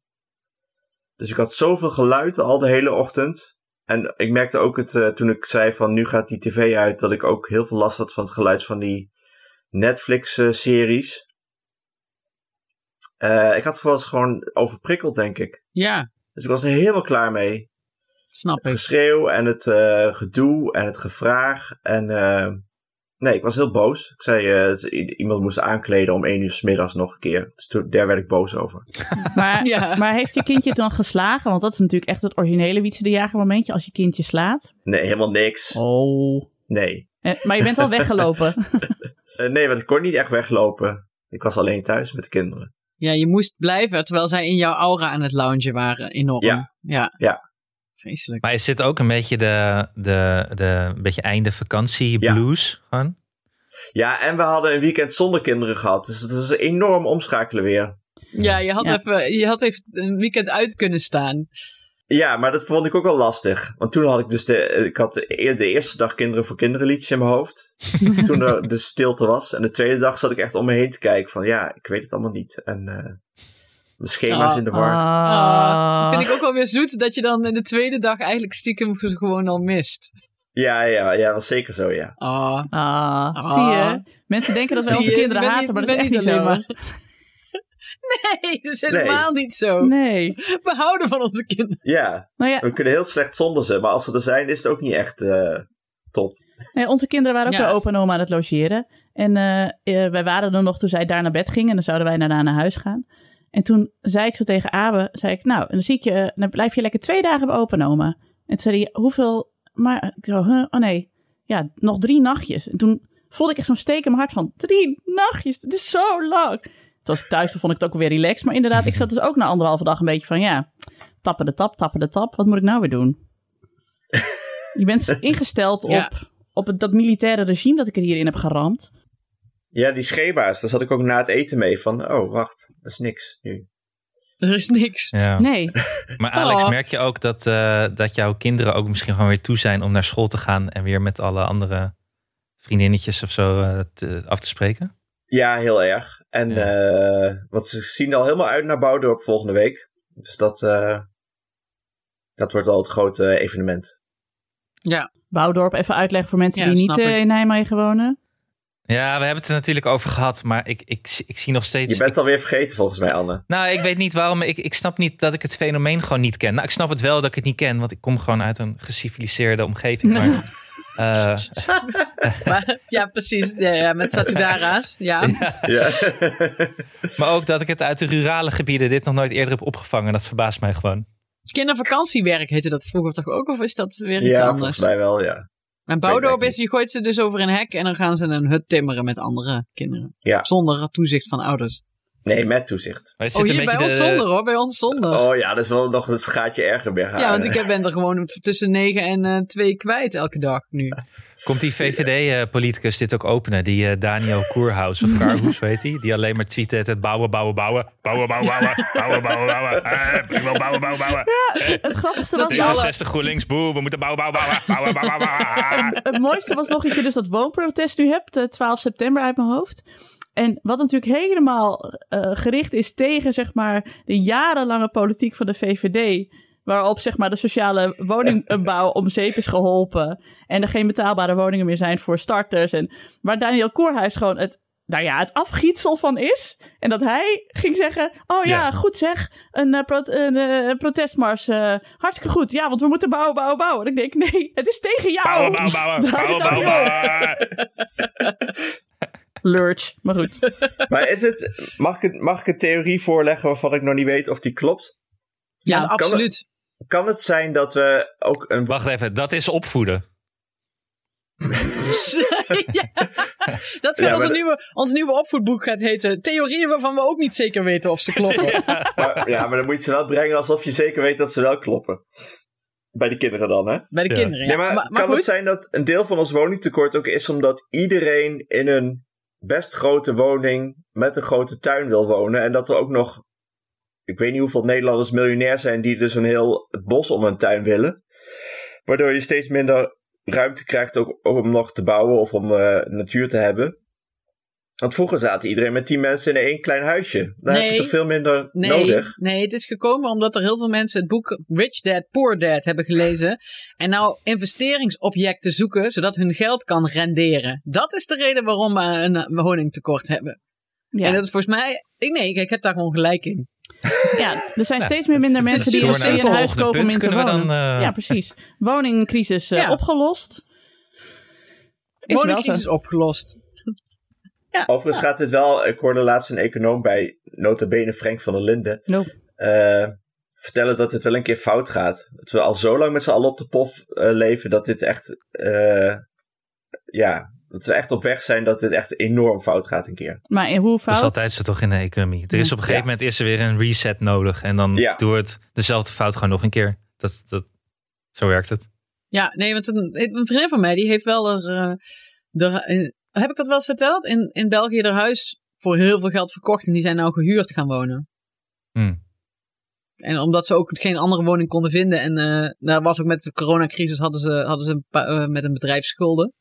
Speaker 4: Dus ik had zoveel geluid al de hele ochtend. En ik merkte ook het, eh, toen ik zei van nu gaat die tv uit, dat ik ook heel veel last had van het geluid van die eh, Netflix-series. Eh, ik had wel eens gewoon overprikkeld, denk ik.
Speaker 1: ja,
Speaker 4: Dus ik was er helemaal klaar mee
Speaker 1: snap
Speaker 4: het
Speaker 1: ik.
Speaker 4: geschreeuw en het eh, gedoe en het gevraag. En eh, nee, ik was heel boos. Ik zei, eh, dat i- iemand moest aankleden om één uur 's middags nog een keer. Dus toen, daar werd ik boos over.
Speaker 3: Maar,
Speaker 1: Ja.
Speaker 3: maar heeft je kindje het dan geslagen? Want dat is natuurlijk echt het originele Wietse de Jager momentje. Als je kindje slaat.
Speaker 4: Nee, helemaal niks.
Speaker 3: Oh.
Speaker 4: Nee.
Speaker 3: maar je bent al weggelopen.
Speaker 4: Eh, nee, want ik kon niet echt weglopen. Ik was alleen thuis met de kinderen.
Speaker 1: Ja, je moest blijven terwijl zij in jouw aura aan het loungen waren. Enorm.
Speaker 4: Ja.
Speaker 1: Ja.
Speaker 4: Ja.
Speaker 1: Vreselijk.
Speaker 2: Maar is dit ook een beetje de, de, de een beetje einde vakantie blues? Gewoon?
Speaker 4: Ja, en we hadden een weekend zonder kinderen gehad. Dus het is een enorm omschakelen weer.
Speaker 1: Ja, je had,
Speaker 3: Ja.
Speaker 1: Even, je had even een weekend uit kunnen staan.
Speaker 4: Ja, maar dat vond ik ook wel lastig. Want toen had ik dus de, ik had de, eer- de eerste dag kinderen voor kinderen liedjes in mijn hoofd. toen er de stilte was. En de tweede dag zat ik echt om me heen te kijken van ja, ik weet het allemaal niet. En eh, mijn schema's
Speaker 1: Ah,
Speaker 4: in de war.
Speaker 3: oh. Ah.
Speaker 1: Ah, Vind ik ook wel weer zoet dat je dan in de tweede dag eigenlijk stiekem gewoon al mist.
Speaker 4: Ja, ja, ja, was zeker zo, ja.
Speaker 1: Ah,
Speaker 3: Ah,
Speaker 1: Ah.
Speaker 3: zie je? Mensen denken dat wij
Speaker 1: Zie
Speaker 3: onze
Speaker 1: je,
Speaker 3: kinderen
Speaker 1: ik ben
Speaker 3: haten,
Speaker 1: niet-
Speaker 3: maar dat is echt
Speaker 1: ik ben
Speaker 3: niet zo.
Speaker 1: niet nee, dat is helemaal niet zo.
Speaker 3: Nee.
Speaker 1: We houden van onze kinderen.
Speaker 4: Ja,
Speaker 3: Nou ja,
Speaker 4: we kunnen heel slecht zonder ze, maar als ze er zijn, is het ook niet echt eh, top.
Speaker 3: nee, onze kinderen waren ook
Speaker 1: Ja.
Speaker 3: bij opa en oma aan het logeren. En eh, eh, wij waren er nog toen zij daar naar bed gingen. En dan zouden wij daarna naar huis gaan. En toen zei ik zo tegen Abe, zei ik, nou, dan, zie ik je, eh, dan blijf je lekker twee dagen bij opa en oma. En toen zei hij, hoeveel? Maar ik zo, huh? oh nee, ja, nog drie nachtjes. En toen voelde ik echt zo'n steek in mijn hart van, drie nachtjes, dit is zo lang. Toen was ik thuis, toen vond ik het ook weer relaxed. Maar inderdaad, ik zat dus ook na anderhalve dag een beetje van, ja, tappen de tap, tappen de tap. Wat moet ik nou weer doen? Je bent dus ingesteld op,
Speaker 1: Ja.
Speaker 3: op het, dat militaire regime dat ik er hierin heb geramd.
Speaker 4: Ja, die schema's, daar zat ik ook na het eten mee van, oh, wacht, dat is niks nu.
Speaker 1: Er is niks.
Speaker 2: Ja.
Speaker 3: Nee,
Speaker 2: Maar Alex,
Speaker 1: Oh.
Speaker 2: merk je ook dat, eh, dat jouw kinderen ook misschien gewoon weer toe zijn om naar school te gaan en weer met alle andere vriendinnetjes of zo eh, te- af te spreken?
Speaker 4: Ja, heel erg. En
Speaker 2: Ja.
Speaker 4: eh, want ze zien al helemaal uit naar Bouwdorp volgende week. Dus dat, eh, dat wordt al het grote evenement.
Speaker 3: Bouwdorp even uitleggen voor mensen
Speaker 1: Ja,
Speaker 3: die niet
Speaker 1: snap
Speaker 3: eh,
Speaker 1: ik.
Speaker 3: in Nijmegen wonen.
Speaker 2: Ja, we hebben het er natuurlijk over gehad, maar ik, ik, zie- ik zie nog steeds.
Speaker 4: Je bent alweer vergeten volgens mij, Anne.
Speaker 2: Nou, ik weet niet waarom. Ik, ik snap niet dat ik het fenomeen gewoon niet ken. Nou, ik snap het wel dat ik het niet ken, want ik kom gewoon uit een geciviliseerde omgeving. Maar, eh,
Speaker 1: Maar, ja, precies. Ja, ja, met Satudara's. Ja.
Speaker 4: Ja.
Speaker 2: maar ook dat ik het uit de rurale gebieden dit nog nooit eerder heb opgevangen. Dat verbaast mij gewoon.
Speaker 1: Kindervakantiewerk heette dat vroeger toch ook? Of is dat weer iets
Speaker 4: ja, volgens
Speaker 1: anders?
Speaker 4: mij wel, ja.
Speaker 1: En
Speaker 4: Ik
Speaker 1: Boudorp
Speaker 4: weet
Speaker 1: is, je gooit ze dus over een hek en dan gaan ze een hut timmeren met andere kinderen.
Speaker 4: Ja.
Speaker 1: Zonder toezicht van ouders.
Speaker 4: Nee, met toezicht.
Speaker 2: Maar het
Speaker 1: Oh,
Speaker 2: zit
Speaker 1: hier
Speaker 2: een
Speaker 1: bij
Speaker 2: beetje
Speaker 1: ons
Speaker 2: de-
Speaker 1: zonder hoor, bij ons zonder.
Speaker 4: Oh ja, dat is wel nog een schaatje erger meer.
Speaker 1: ja, want ik heb- ben er gewoon tussen negen en eh, twee kwijt elke dag nu.
Speaker 2: Komt die VVD-politicus dit ook openen? Die eh, Daniel Koerhuis of Karhoes, weet hij? Die alleen maar tweet het, het bouwen, bouwen, bouwen. Bouwen, bouwen, bouwen. Bouwen, bouwen, bouwen. Eh, ik wil bouwen, bouwen, bouwen.
Speaker 3: Het grappigste was... die alle-
Speaker 2: D66 GroenLinks, boe, we moeten bouwen, bouwen, bouwen. Bouwen, bouwen,
Speaker 1: Nou,
Speaker 2: bouwen.
Speaker 3: het mooiste was nog dat je dus dat woonprotest nu hebt, eh, 12 september uit mijn hoofd. En wat natuurlijk helemaal eh, gericht is tegen zeg maar, de jarenlange politiek van de VVD. Waarop zeg maar, de sociale woningbouw om zeep is geholpen. En er geen betaalbare woningen meer zijn voor starters. En waar Daniel Koorhuis gewoon het, nou ja, het afgietsel van is. En dat hij ging zeggen: Oh ja,
Speaker 2: Ja.
Speaker 3: goed zeg. Een, eh, prot- een eh, protestmars. eh, hartstikke goed. Ja, want we moeten bouwen, bouwen, bouwen. En ik denk: Nee, het is tegen jou.
Speaker 2: Bouwen, bouwen, bouwen.
Speaker 3: Draai
Speaker 2: Bouwen,
Speaker 3: het
Speaker 2: bouwen,
Speaker 3: dan
Speaker 1: nou,
Speaker 2: bouwen.
Speaker 3: Lurch, maar goed.
Speaker 4: Maar is het, mag, ik, het- mag ik een theorie voorleggen waarvan ik nog niet weet of die klopt?
Speaker 1: Ja,
Speaker 3: Ja.
Speaker 1: absoluut.
Speaker 4: Kan het zijn dat we ook een...
Speaker 2: Wacht even, dat is opvoeden.
Speaker 1: ja. Dat gaat
Speaker 4: Ja, maar
Speaker 1: als een
Speaker 4: de-
Speaker 1: nieuwe, ons nieuwe opvoedboek gaat heten. Theorieën waarvan we ook niet zeker weten of ze kloppen.
Speaker 4: Maar, ja, maar dan moet je ze wel brengen alsof je zeker weet dat ze wel kloppen. Bij de kinderen dan, hè?
Speaker 1: Bij de
Speaker 2: Ja.
Speaker 1: kinderen, ja.
Speaker 4: nee, maar,
Speaker 1: maar, maar
Speaker 4: kan
Speaker 1: goed,
Speaker 4: het zijn dat een deel van ons woningtekort ook is omdat iedereen in een best grote woning met een grote tuin wil wonen? En dat er ook nog, ik weet niet hoeveel Nederlanders miljonair zijn die dus een heel het bos om hun tuin willen. Waardoor je steeds minder ruimte krijgt ook om nog te bouwen of om eh, natuur te hebben. Want vroeger zaten iedereen met tien mensen in één klein huisje. Daar heb
Speaker 1: Nee.
Speaker 4: je toch veel minder
Speaker 1: nee,
Speaker 4: nodig?
Speaker 1: nee, het is gekomen omdat er heel veel mensen het boek Rich Dad, Poor Dad hebben gelezen. En nou investeringsobjecten zoeken, zodat hun geld kan renderen. Dat is de reden waarom we een woningtekort hebben.
Speaker 3: Ja,
Speaker 1: En dat is volgens mij... Ik, nee, ik, ik heb daar gewoon gelijk in.
Speaker 3: ja, er zijn steeds meer minder mensen die
Speaker 1: door
Speaker 3: dus
Speaker 1: naar het
Speaker 3: een huis
Speaker 2: volgende
Speaker 3: kopen om
Speaker 2: punt.
Speaker 3: in te
Speaker 2: Kunnen we
Speaker 3: wonen.
Speaker 2: dan, eh,
Speaker 3: Ja, precies. Woningcrisis eh,
Speaker 1: Ja.
Speaker 3: opgelost. Is
Speaker 1: Woningcrisis
Speaker 3: wel
Speaker 1: opgelost.
Speaker 4: Overigens gaat dit wel, ik hoorde laatst een econoom bij nota bene Frank van der Linden.
Speaker 3: zo. No.
Speaker 4: eh, vertellen dat dit wel een keer fout gaat. Dat we al zo lang met z'n allen op de pof eh, leven dat dit echt. eh, ja, dat we echt op weg zijn dat dit echt enorm fout gaat een keer.
Speaker 3: Maar in hoe
Speaker 2: Dat is
Speaker 3: fout?
Speaker 2: Dus altijd zo toch in de economie. Er is op een gegeven
Speaker 4: Ja.
Speaker 2: moment is er weer een reset nodig. En dan
Speaker 4: Ja.
Speaker 2: doe het dezelfde fout gewoon nog een keer. Dat, dat, zo werkt het.
Speaker 1: Ja, nee, want een, een vriendin van mij die heeft wel er. eh, er- in- heb ik dat wel eens verteld? In, in België haar huis voor heel veel geld verkocht en die zijn nou gehuurd gaan wonen.
Speaker 2: Hmm.
Speaker 1: En omdat ze ook geen andere woning konden vinden. En eh daar was ook met de coronacrisis hadden ze, hadden ze een pa- eh, met een bedrijf schulden.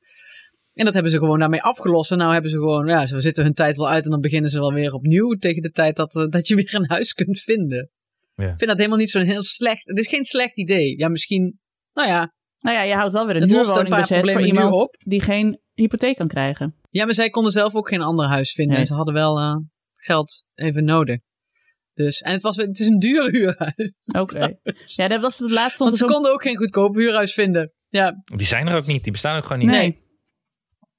Speaker 1: En dat hebben ze gewoon daarmee afgelost. En nou hebben ze gewoon, ja, ze zitten hun tijd wel uit en dan beginnen ze wel weer opnieuw tegen de tijd dat, eh, dat je weer een huis kunt vinden.
Speaker 2: Ja.
Speaker 1: Ik vind dat helemaal niet zo'n heel slecht. Het is geen slecht idee. Ja, misschien, nou ja,
Speaker 3: Nou ja, je houdt wel weer een
Speaker 1: Het lost een
Speaker 3: huurwoning
Speaker 1: paar
Speaker 3: bezet voor
Speaker 1: problemen nu
Speaker 3: iemand
Speaker 1: op.
Speaker 3: die geen hypotheek kan krijgen.
Speaker 1: Ja, maar zij konden zelf ook geen ander huis vinden.
Speaker 3: Nee.
Speaker 1: En ze hadden wel eh, geld even nodig. Dus, en het, was, weer- het is een duur huurhuis.
Speaker 3: Oké. Ja, dat was het laatste. stond
Speaker 1: Want ze
Speaker 3: er zo'n-
Speaker 1: konden ook geen goedkoop huurhuis vinden. Ja,
Speaker 2: Die zijn er ook niet. Die bestaan ook gewoon niet.
Speaker 3: Nee. nee.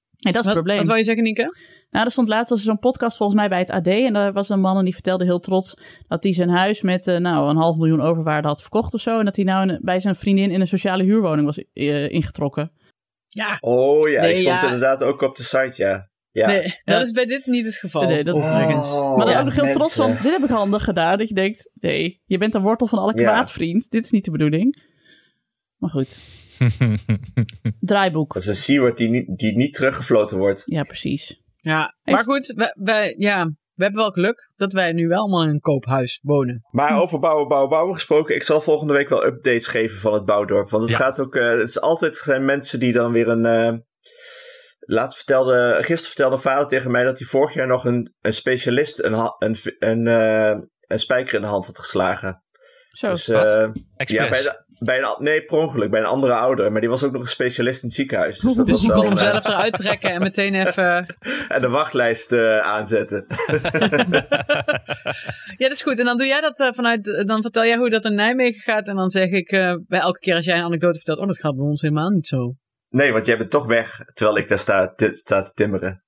Speaker 3: dat is het
Speaker 1: wat,
Speaker 3: probleem.
Speaker 1: wat wou je zeggen, Nienke?
Speaker 3: Nou, er stond laatst was er zo'n podcast volgens mij bij het AD. En daar was een man en die vertelde heel trots dat hij zijn huis met eh, nou, een half miljoen overwaarde had verkocht of zo. En dat hij nou in- bij zijn vriendin in een sociale huurwoning was eh, ingetrokken.
Speaker 1: Ja,
Speaker 4: Oh ja,
Speaker 1: Nee,
Speaker 4: ik stond
Speaker 1: ja.
Speaker 4: inderdaad ook op de site, ja. Ja.
Speaker 1: nee,
Speaker 3: Ja.
Speaker 1: dat is bij dit niet het geval.
Speaker 3: Nee, dat is
Speaker 1: overigens.
Speaker 4: Oh,
Speaker 3: maar dan
Speaker 4: ja,
Speaker 3: ook nog heel trots van,
Speaker 4: mensen.
Speaker 3: dit heb ik handig gedaan. Dat je denkt, nee, je bent de wortel van alle
Speaker 4: Ja.
Speaker 3: kwaad, vriend. Dit is niet de bedoeling. Maar goed, draaiboek.
Speaker 4: Dat is een Seaward die, niet- die niet teruggefloten wordt.
Speaker 3: Ja, precies.
Speaker 1: Ja,
Speaker 3: Heeft-
Speaker 1: maar goed, wij, wij- ja, we hebben wel geluk dat wij nu wel allemaal in een koophuis wonen.
Speaker 2: Hm.
Speaker 4: Maar over bouwen, bouwen, bouwen gesproken. Ik zal volgende week wel updates geven van het bouwdorp. Want het
Speaker 2: Ja.
Speaker 4: gaat ook. eh, het is altijd zijn mensen die dan weer een. eh, laatst vertelde, gisteren vertelde vader tegen mij dat hij vorig jaar nog een, een specialist een, ha- een, v- een, eh, een spijker in de hand had geslagen.
Speaker 3: Zo,
Speaker 4: dus,
Speaker 2: Oh, wat?
Speaker 4: eh,
Speaker 2: Express.
Speaker 4: ja, bij, de- bij een, a- nee, per ongeluk, bij een andere ouder. Maar die was ook nog een specialist in het ziekenhuis. Dus dat
Speaker 1: Dus
Speaker 4: was
Speaker 1: die
Speaker 4: wel,
Speaker 1: kon hem
Speaker 4: eh,
Speaker 1: zelf eruit trekken en meteen even
Speaker 4: en de wachtlijst eh, aanzetten.
Speaker 1: Ja, dat is goed. En dan doe jij dat eh, vanuit. Dan vertel jij hoe dat in Nijmegen gaat. En dan zeg ik eh, bij elke keer als jij een anekdote vertelt. Oh, dat gaat bij ons helemaal niet zo.
Speaker 4: Nee, want jij bent toch weg terwijl ik daar sta, ti- sta te timmeren.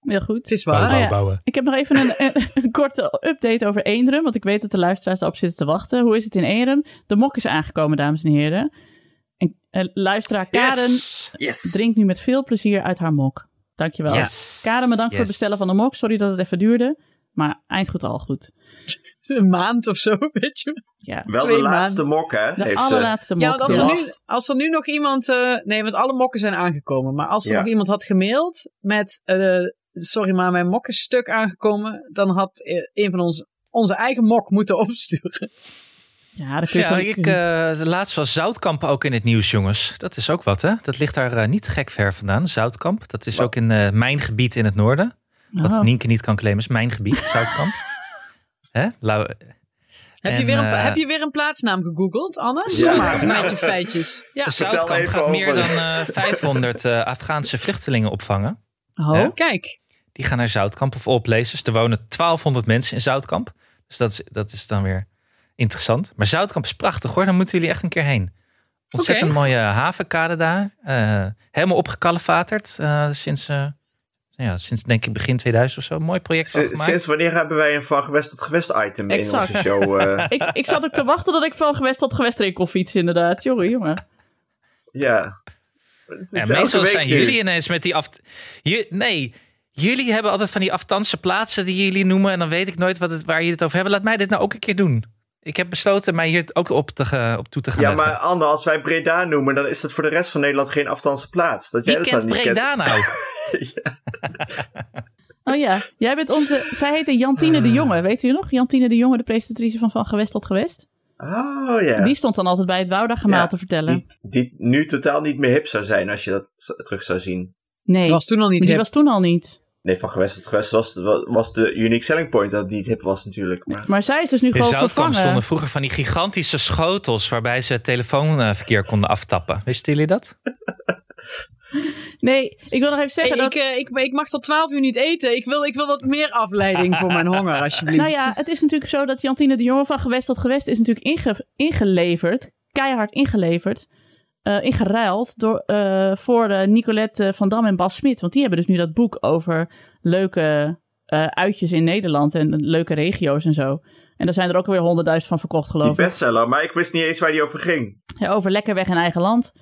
Speaker 3: heel goed.
Speaker 1: Het is
Speaker 2: Bouwen,
Speaker 1: waar.
Speaker 3: Oh, ja.
Speaker 2: bouwen, bouwen.
Speaker 3: Ik heb nog even een, een, een korte update over Eendrum. Want ik weet dat de luisteraars daarop zitten te wachten. Hoe is het in Eendrum? De mok is aangekomen, dames en heren. En eh, luisteraar Karen
Speaker 2: Yes.
Speaker 4: Yes!
Speaker 3: drinkt nu met veel plezier uit haar mok. Dankjewel.
Speaker 2: Yes.
Speaker 3: Karen, bedankt voor het
Speaker 2: Yes.
Speaker 3: bestellen van de mok. Sorry dat het even duurde. Maar eind goed al goed.
Speaker 1: Een maand of zo, weet je.
Speaker 3: Ja,
Speaker 4: Wel
Speaker 1: Twee
Speaker 4: de laatste mok, hè?
Speaker 3: de
Speaker 4: heeft ze.
Speaker 3: allerlaatste mok.
Speaker 1: Ja, want als er,
Speaker 4: ja.
Speaker 1: nu, als er nu nog iemand. eh, nee, want alle mokken zijn aangekomen. Maar als er
Speaker 4: Ja.
Speaker 1: nog iemand had gemaild met. eh, sorry, maar mijn mok is stuk aangekomen. Dan had eh, een van ons onze eigen mok moeten opsturen.
Speaker 3: Ja, dat kun je
Speaker 2: Ja,
Speaker 3: toch-
Speaker 2: ik, eh, de laatste was Zoutkamp ook in het nieuws, jongens. Dat is ook wat, hè? Dat ligt daar eh, niet te gek ver vandaan, Zoutkamp. Dat is
Speaker 4: Wat?
Speaker 2: ook in eh, mijn gebied in het noorden.
Speaker 3: Oh.
Speaker 2: Wat Nienke niet kan claimen is mijn gebied, Zoutkamp. Hè? Lau-
Speaker 1: Heb, je
Speaker 2: En,
Speaker 1: weer een,
Speaker 2: eh,
Speaker 1: heb je weer een plaatsnaam gegoogeld, Anne?
Speaker 4: Ja.
Speaker 1: Kom maar, met je feitjes. Ja,
Speaker 4: Dus-
Speaker 2: Zoutkamp
Speaker 4: vertel even
Speaker 2: gaat meer dan
Speaker 4: over-
Speaker 2: eh, 500 eh, Afghaanse vluchtelingen opvangen.
Speaker 3: Oh,
Speaker 1: kijk.
Speaker 2: Die gaan naar Zoutkamp of oplezers. Er wonen 1200 mensen in Zoutkamp. Dus dat is, dat is dan weer interessant. Maar Zoutkamp is prachtig hoor. Daar moeten jullie echt een keer heen. Ontzettend
Speaker 1: Oké.
Speaker 2: mooie havenkade daar. Eh, helemaal opgekalefaterd eh, sinds, eh, ja, sinds denk ik begin 2000 of zo. Mooi project al
Speaker 4: Si-
Speaker 2: gemaakt.
Speaker 4: Sinds wanneer hebben wij een van gewest tot gewest item
Speaker 3: Exact.
Speaker 4: in onze show? eh?
Speaker 3: ik, ik zat ook te wachten dat ik van gewest tot gewest erin kon fietsen, inderdaad. Jongen, jongen.
Speaker 4: ja.
Speaker 2: Ja,
Speaker 4: Het is elke
Speaker 2: meestal
Speaker 4: week
Speaker 2: zijn
Speaker 4: nu.
Speaker 2: jullie ineens met die af... Ju- nee, jullie hebben altijd van die aftanse plaatsen die jullie noemen. En dan weet ik nooit wat het, waar jullie het over hebben. Laat mij dit nou ook een keer doen. Ik heb besloten mij hier ook op, te, ge- op toe te gaan.
Speaker 4: Ja,
Speaker 2: leggen.
Speaker 4: maar Anne, als wij Breda noemen, dan is dat voor de rest van Nederland geen afstandse plaats. Dat jij
Speaker 2: Wie
Speaker 4: dat
Speaker 2: kent
Speaker 4: dan niet
Speaker 2: Breda nou?
Speaker 3: Oh ja, jij bent onze... Zij heette Jantine
Speaker 4: Eh.
Speaker 3: de Jonge, weet u nog? Jantine de Jonge, de presentatrice van Van Gewest tot Gewest.
Speaker 4: kent. Oh ja.
Speaker 3: Die
Speaker 4: Die,
Speaker 3: stond dan altijd bij het Woudagemaal
Speaker 4: Ja,
Speaker 3: te vertellen.
Speaker 4: die nu totaal niet meer hip zou zijn als je dat z- terug zou zien.
Speaker 3: Nee,
Speaker 1: Dat was toen al niet
Speaker 3: die
Speaker 1: hip.
Speaker 3: was toen al niet.
Speaker 4: Nee, van gewest tot gewest was, was de unique selling point dat het niet hip was natuurlijk. Maar
Speaker 3: Maar zij is dus nu
Speaker 2: In
Speaker 3: gewoon
Speaker 2: Zoutkamp
Speaker 3: vervangen.
Speaker 2: stonden vroeger van die gigantische schotels... waarbij ze het telefoonverkeer konden aftappen. Wisten jullie dat?
Speaker 3: Nee, ik wil nog even zeggen
Speaker 1: Hey,
Speaker 3: dat...
Speaker 1: ik, eh, ik, ik mag tot 12 uur niet eten. Ik wil, ik wil wat meer afleiding voor mijn honger, alsjeblieft.
Speaker 3: Nou ja, het is natuurlijk zo dat Jantine de Jonge van gewest tot gewest is natuurlijk inge- ingeleverd, keihard ingeleverd, eh, ingeruild door, eh, voor eh, Nicolette van Dam en Bas Smit. Want die hebben dus nu dat boek over leuke eh, uitjes in Nederland en leuke regio's en zo. En daar zijn er ook weer honderdduizend van verkocht,
Speaker 4: die
Speaker 3: geloof ik.
Speaker 4: bestseller, maar ik wist niet eens waar die over ging.
Speaker 3: Ja, over lekker weg in eigen land.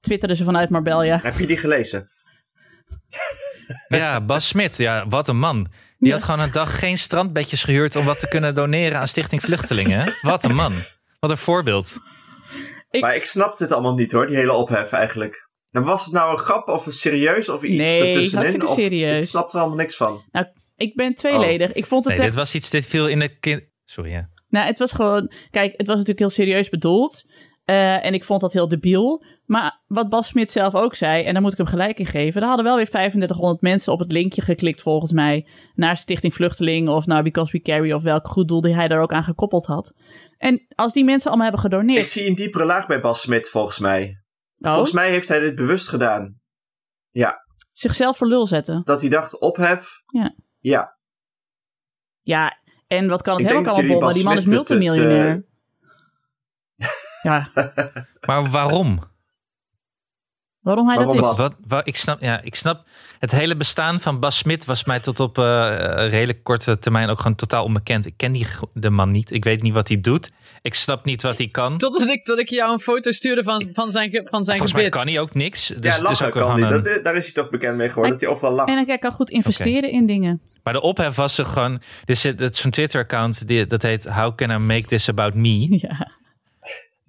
Speaker 3: Twitteren ze vanuit Marbella.
Speaker 4: Heb je die gelezen?
Speaker 2: Ja, Bas Smit. Ja, wat een man. Die had gewoon een dag geen strandbedjes gehuurd... om wat te kunnen doneren aan Stichting Vluchtelingen. hè? Wat een man. Wat een voorbeeld.
Speaker 3: Ik-
Speaker 4: Maar ik snapte het allemaal niet hoor, die hele ophef eigenlijk. En was het nou een grap of een serieus of iets
Speaker 3: Nee,
Speaker 4: ertussenin?
Speaker 3: hartstikke
Speaker 4: Of,
Speaker 3: serieus.
Speaker 4: Ik snap er allemaal niks van.
Speaker 3: Ik ben tweeledig. Ik vond het
Speaker 2: Nee,
Speaker 3: echt
Speaker 2: dit was iets... Dit viel in de... kin- Sorry, ja.
Speaker 3: Nou, het was gewoon. Kijk, het was natuurlijk heel serieus bedoeld. Eh, en ik vond dat heel debiel. Maar wat Bas Smit zelf ook zei, en daar moet ik hem gelijk in geven. Er hadden wel weer 3500 mensen op het linkje geklikt, volgens mij. Naar Stichting Vluchteling of naar Because We Carry of welk goed doel die hij daar ook aan gekoppeld had. En als die mensen allemaal hebben
Speaker 4: Ik
Speaker 3: gedoneerd.
Speaker 4: zie een diepere laag bij Bas Smit, volgens mij.
Speaker 3: Oh,
Speaker 4: Volgens mij heeft hij dit bewust gedaan.
Speaker 3: zichzelf voor lul zetten.
Speaker 4: Dat hij dacht, ophef.
Speaker 3: Ja.
Speaker 4: Ja.
Speaker 3: Ja, en wat kan het
Speaker 4: Ik
Speaker 3: hem ook
Speaker 4: denk dat
Speaker 3: allemaal
Speaker 4: jullie
Speaker 3: bommen?
Speaker 4: Bas
Speaker 3: Die man is
Speaker 4: Smit het, eh,
Speaker 3: multimiljonair. Ja,
Speaker 2: Maar waarom?
Speaker 3: waarom
Speaker 4: Waarom
Speaker 3: hij dat is.
Speaker 4: Bas?
Speaker 2: Wat, wat, ik, snap, ja, ik snap, het hele bestaan van Bas Smit was mij tot op eh, eh, redelijk korte termijn ook gewoon totaal onbekend. Ik ken die, go- de man niet. Ik weet niet wat hij doet. Ik snap niet wat hij kan.
Speaker 1: Totdat ik, tot ik jou een foto stuurde van, van zijn, ge- van zijn
Speaker 2: Volgens mij
Speaker 1: gebit.
Speaker 2: kan hij ook niks. Dus
Speaker 4: ja,
Speaker 2: het is
Speaker 4: lachen
Speaker 2: ook
Speaker 4: kan
Speaker 2: gewoon
Speaker 4: hij.
Speaker 2: een-
Speaker 4: Dat, daar is hij toch bekend mee geworden,
Speaker 3: Maar-
Speaker 4: dat hij overal lacht.
Speaker 3: En hij kan goed investeren in dingen.
Speaker 2: Maar de ophef was er gewoon. Er zit dat is zo'n Twitter-account die- dat heet How Can I Make This About Me?
Speaker 3: Ja,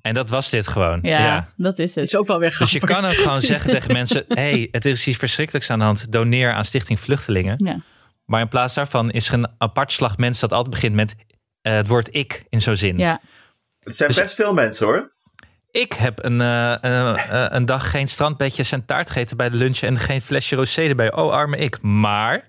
Speaker 2: En dat was dit gewoon.
Speaker 3: ja, dat is het.
Speaker 1: is ook wel weer
Speaker 2: Dus
Speaker 1: grappig.
Speaker 2: je kan ook gewoon zeggen tegen mensen: hé, hey, het is iets verschrikkelijks aan de hand. Doneer aan Stichting Vluchtelingen.
Speaker 3: Ja.
Speaker 2: Maar in plaats daarvan is er een apart slag mensen dat altijd begint met eh, het woord ik in zo'n zin.
Speaker 3: Ja,
Speaker 4: Het
Speaker 2: Dus-
Speaker 4: zijn best veel mensen hoor.
Speaker 2: Ik heb een, eh, eh, eh, een dag geen strandbedjes en taart gegeten bij de lunch en geen flesje rosé erbij. Oh, arme ik. Maar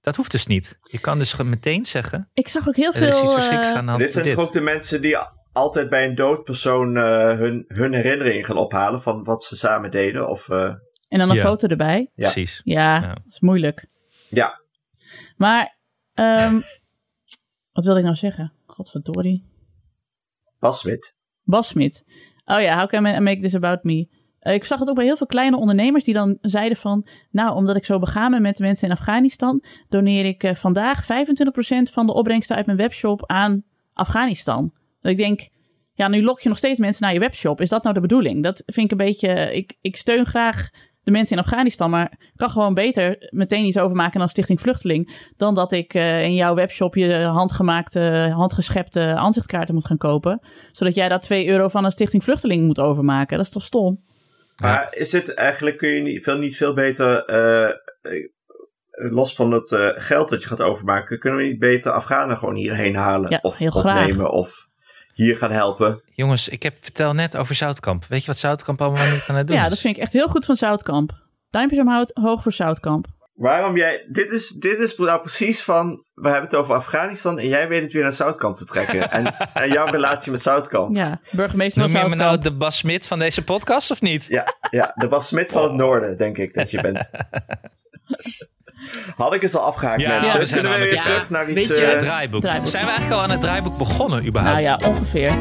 Speaker 2: dat hoeft dus niet. Je kan dus gewoon meteen zeggen:
Speaker 3: ik zag ook heel
Speaker 2: er is iets
Speaker 3: veel.
Speaker 2: verschrikkelijks
Speaker 3: eh,
Speaker 2: aan de hand.
Speaker 4: Dit zijn
Speaker 2: door
Speaker 4: toch ook de mensen die altijd bij een dood persoon eh, hun, hun herinneringen gaan ophalen van wat ze samen deden. Of, eh,
Speaker 3: en dan een
Speaker 2: Ja.
Speaker 3: foto erbij.
Speaker 4: Ja.
Speaker 2: Precies.
Speaker 3: Ja,
Speaker 2: Ja.
Speaker 3: dat is moeilijk.
Speaker 4: ja,
Speaker 3: Maar, ehm, wat wilde ik nou zeggen? Godverdorie.
Speaker 4: Bas Smit.
Speaker 3: Bas Smit. Oh ja, how can I make this about me? Eh, ik zag het ook bij heel veel kleine ondernemers die dan zeiden van... Nou, omdat ik zo begaan ben met de mensen in Afghanistan... doneer ik eh, vandaag 25% van de opbrengsten uit mijn webshop aan Afghanistan. Dat ik denk, ja, nu lok je nog steeds mensen naar je webshop. Is dat nou de bedoeling? Dat vind ik een beetje... Ik, ik steun graag de mensen in Afghanistan... maar kan gewoon beter meteen iets overmaken dan Stichting Vluchteling... dan dat ik eh, in jouw webshop je handgemaakte, handgeschepte aanzichtkaarten moet gaan kopen... zodat jij daar 2 euro van aan Stichting Vluchteling moet overmaken. Dat is toch stom?
Speaker 4: Maar is het eigenlijk, kun je niet veel, niet veel beter, eh, eh, los van het eh, geld dat je gaat overmaken, kunnen we niet beter Afghanen gewoon hierheen halen?
Speaker 3: Ja,
Speaker 4: of
Speaker 3: heel graag.
Speaker 4: opnemen of hier gaan helpen?
Speaker 2: Jongens, ik heb, vertel net over Zoutkamp. Weet je wat Zoutkamp allemaal niet aan het doen
Speaker 3: Ja,
Speaker 2: is?
Speaker 3: dat vind ik echt heel goed van Zoutkamp. Duimpjes omhoog hoog voor Zoutkamp.
Speaker 4: Waarom jij. Dit is, dit is nou precies van. We hebben het over Afghanistan en jij weet het weer naar Zoutkamp te trekken. En, en jouw relatie met Zoutkamp. Ja,
Speaker 3: Ja, burgemeester van
Speaker 2: Noem je me
Speaker 3: Zoutkamp.
Speaker 2: nou de Bas Smit van deze podcast of niet?
Speaker 4: ja, de Bas Smit van het Noorden, denk ik dat je bent. Had ik het al afgehaakt,
Speaker 2: Ja,
Speaker 4: mensen?
Speaker 2: we zijn
Speaker 4: Kunnen
Speaker 2: aan
Speaker 4: we weer
Speaker 2: het-
Speaker 1: ja,
Speaker 4: terug naar iets.
Speaker 1: weet je-
Speaker 4: eh,
Speaker 2: Het draaiboek.
Speaker 3: draaiboek.
Speaker 2: Zijn we eigenlijk al aan het draaiboek begonnen
Speaker 3: Nou
Speaker 2: überhaupt?
Speaker 3: ja, ongeveer.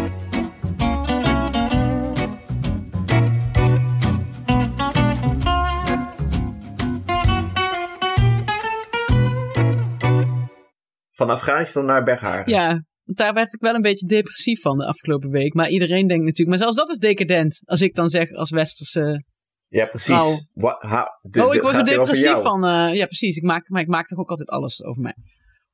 Speaker 4: van Afghanistan naar Bergharen.
Speaker 1: Ja, want daar werd ik wel een beetje depressief van de afgelopen week. Maar iedereen denkt natuurlijk, maar zelfs dat is decadent. Als ik dan zeg als westerse.
Speaker 4: Ja, precies.
Speaker 1: Nou.
Speaker 4: Wa- ha- dit-
Speaker 1: oh, ik
Speaker 4: dit
Speaker 1: word er
Speaker 4: gaat weer over
Speaker 1: depressief
Speaker 4: jou.
Speaker 1: van. eh, ja, precies. Ik maak, maar ik maak toch ook altijd alles over mij.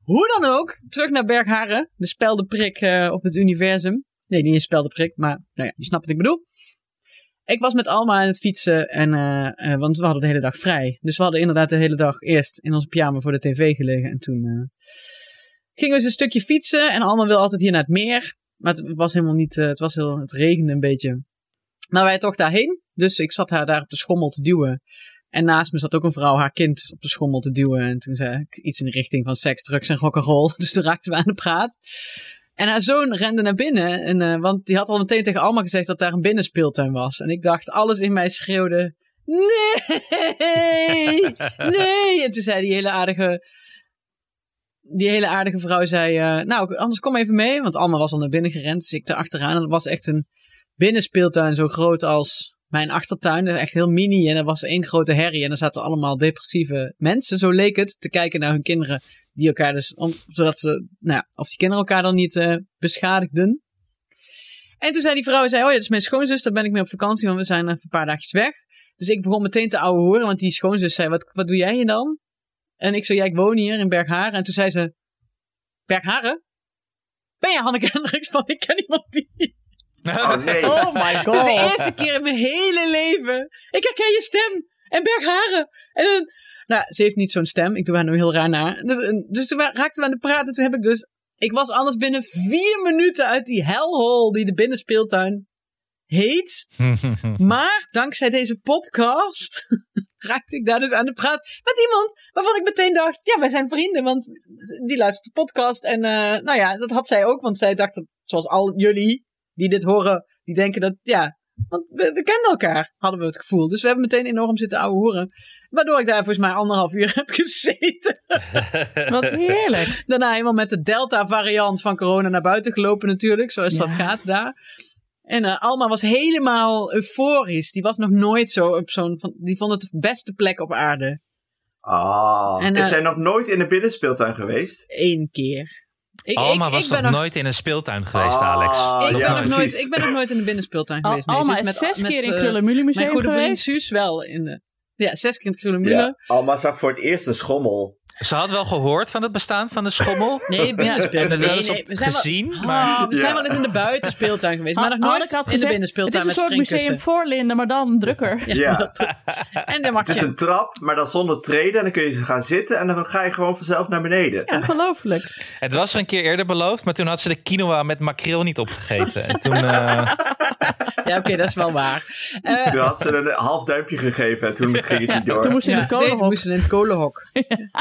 Speaker 1: Hoe dan ook, terug naar Bergharen. De speldenprik eh, op het universum. Nee, niet een speldenprik, maar nou ja, je snapt wat ik bedoel. Ik was met Alma aan het fietsen, en, eh, eh, want we hadden de hele dag vrij. Dus we hadden inderdaad de hele dag eerst in onze pyjama voor de tv gelegen. En toen eh, gingen we eens een stukje fietsen. En Alma wil altijd hier naar het meer. Maar het was helemaal niet, eh, het was heel, het regende een beetje. Maar wij toch daarheen. Dus ik zat haar daar op de schommel te duwen. En naast me zat ook een vrouw haar kind op de schommel te duwen. En toen zei ik iets in de richting van seks, drugs en rock'n'roll. Dus toen raakten we aan de praat. En haar zoon rende naar binnen. En, eh, want die had al meteen tegen Alma gezegd dat daar een binnenspeeltuin was. En ik dacht, alles in mij schreeuwde... Nee! Nee! En toen zei die hele aardige... Die hele aardige vrouw zei... eh, nou, anders kom even mee. Want Alma was al naar binnen gerend. Dus ik erachteraan. En dat was echt een binnenspeeltuin zo groot als mijn achtertuin. Echt heel mini. En er was één grote herrie. En er zaten allemaal depressieve mensen, zo leek het, te kijken naar hun kinderen. Die elkaar dus, om- zodat ze, nou ja, of die kinderen elkaar dan niet eh, beschadigden. En toen zei die vrouw, zei, oh ja, dat is mijn schoonzus, daar ben ik mee op vakantie, want we zijn even een paar dagjes weg. Dus ik begon meteen te ouwe horen, want die schoonzus zei, wat, wat doe jij hier dan? En ik zei, ja, ik woon hier in Bergharen. En toen zei ze, Bergharen? Ben jij Hanneke Hendricks van, ik ken iemand die...
Speaker 4: Oh nee.
Speaker 3: Oh my
Speaker 1: Dat is de
Speaker 3: god.
Speaker 1: eerste keer in mijn hele leven. Ik herken je stem. En Bergharen. En dan, nou, ze heeft niet zo'n stem. Ik doe haar nu heel raar na. Dus- Dus toen wa- raakten we aan de praat. En toen heb ik dus... Ik was anders binnen vier minuten uit die hellhole die de binnenspeeltuin heet. Maar dankzij deze podcast raakte ik daar dus aan de praat met iemand waarvan ik meteen dacht: ja, wij zijn vrienden, want die luistert de podcast. En eh, nou ja, dat had zij ook, want zij dacht, dat, zoals al jullie die dit horen, die denken dat ja, want we, we kenden elkaar, hadden we het gevoel. Dus we hebben meteen enorm zitten ouwe horen. Waardoor ik daar volgens mij anderhalf uur heb gezeten.
Speaker 3: Wat heerlijk.
Speaker 1: Daarna helemaal met de Delta-variant van corona naar buiten gelopen natuurlijk, zoals dat
Speaker 3: Ja.
Speaker 1: gaat daar. En eh, Alma was helemaal euforisch. Die was nog nooit zo op zo'n... van- Die vond het de beste plek op aarde.
Speaker 4: Ah,
Speaker 1: En, eh,
Speaker 4: is zij nog nooit in de binnenspeeltuin geweest?
Speaker 1: Eén keer. Ik,
Speaker 2: Alma
Speaker 1: ik,
Speaker 2: was
Speaker 1: ik
Speaker 2: nog
Speaker 1: ben nog,
Speaker 2: nooit in een speeltuin geweest,
Speaker 4: Ah,
Speaker 2: Alex.
Speaker 1: ik
Speaker 2: Dat
Speaker 1: ben
Speaker 4: ja,
Speaker 1: nog
Speaker 2: kan.
Speaker 1: nooit,
Speaker 4: precies.
Speaker 1: ik ben nog nooit in de binnenspeeltuin
Speaker 3: Al,
Speaker 1: geweest. Nee, ze
Speaker 3: Alma
Speaker 1: is
Speaker 3: is
Speaker 1: met,
Speaker 3: zes
Speaker 1: met,
Speaker 3: keer in
Speaker 1: eh,
Speaker 3: Krullenmullen Museum
Speaker 1: Mijn goede vriend
Speaker 3: geweest.
Speaker 1: Suus wel. In de, ja, zes keer in het Krullenmule.
Speaker 4: Ja. Alma zag voor het eerst een schommel.
Speaker 2: Ze had wel gehoord van het bestaan van de schommel.
Speaker 1: Nee,
Speaker 2: En
Speaker 1: binnenspeeltuin.
Speaker 2: er wel
Speaker 1: Nee,
Speaker 2: eens
Speaker 1: nee,
Speaker 2: op
Speaker 1: we zijn wel-
Speaker 2: gezien.
Speaker 1: Ah,
Speaker 2: Maar
Speaker 1: we zijn
Speaker 4: Ja.
Speaker 1: wel eens in de buitenspeeltuin geweest, maar nog
Speaker 3: Hanneke
Speaker 1: nooit
Speaker 3: Ah, had
Speaker 1: in de
Speaker 3: gezegd,
Speaker 1: binnenspeeltuin
Speaker 3: Het is een soort
Speaker 1: met springkussen.
Speaker 3: museum voor Linde, maar dan drukker.
Speaker 4: Ja.
Speaker 1: En dan mag
Speaker 4: Het is
Speaker 1: je-
Speaker 4: een trap, maar dan zonder treden. En dan kun je ze gaan zitten en dan ga je gewoon vanzelf naar beneden.
Speaker 3: Ongelooflijk.
Speaker 2: het was er een keer eerder beloofd, maar toen had ze de quinoa met makreel niet opgegeten. En toen, eh,
Speaker 1: Ja, oké, dat is wel waar. Eh,
Speaker 4: Toen had ze een half duimpje gegeven en toen ging het
Speaker 3: Ja,
Speaker 4: niet door.
Speaker 3: toen moest ze in
Speaker 1: ja,
Speaker 3: het
Speaker 1: nee, toen
Speaker 3: kolenhok.
Speaker 1: moesten in het kolenhok.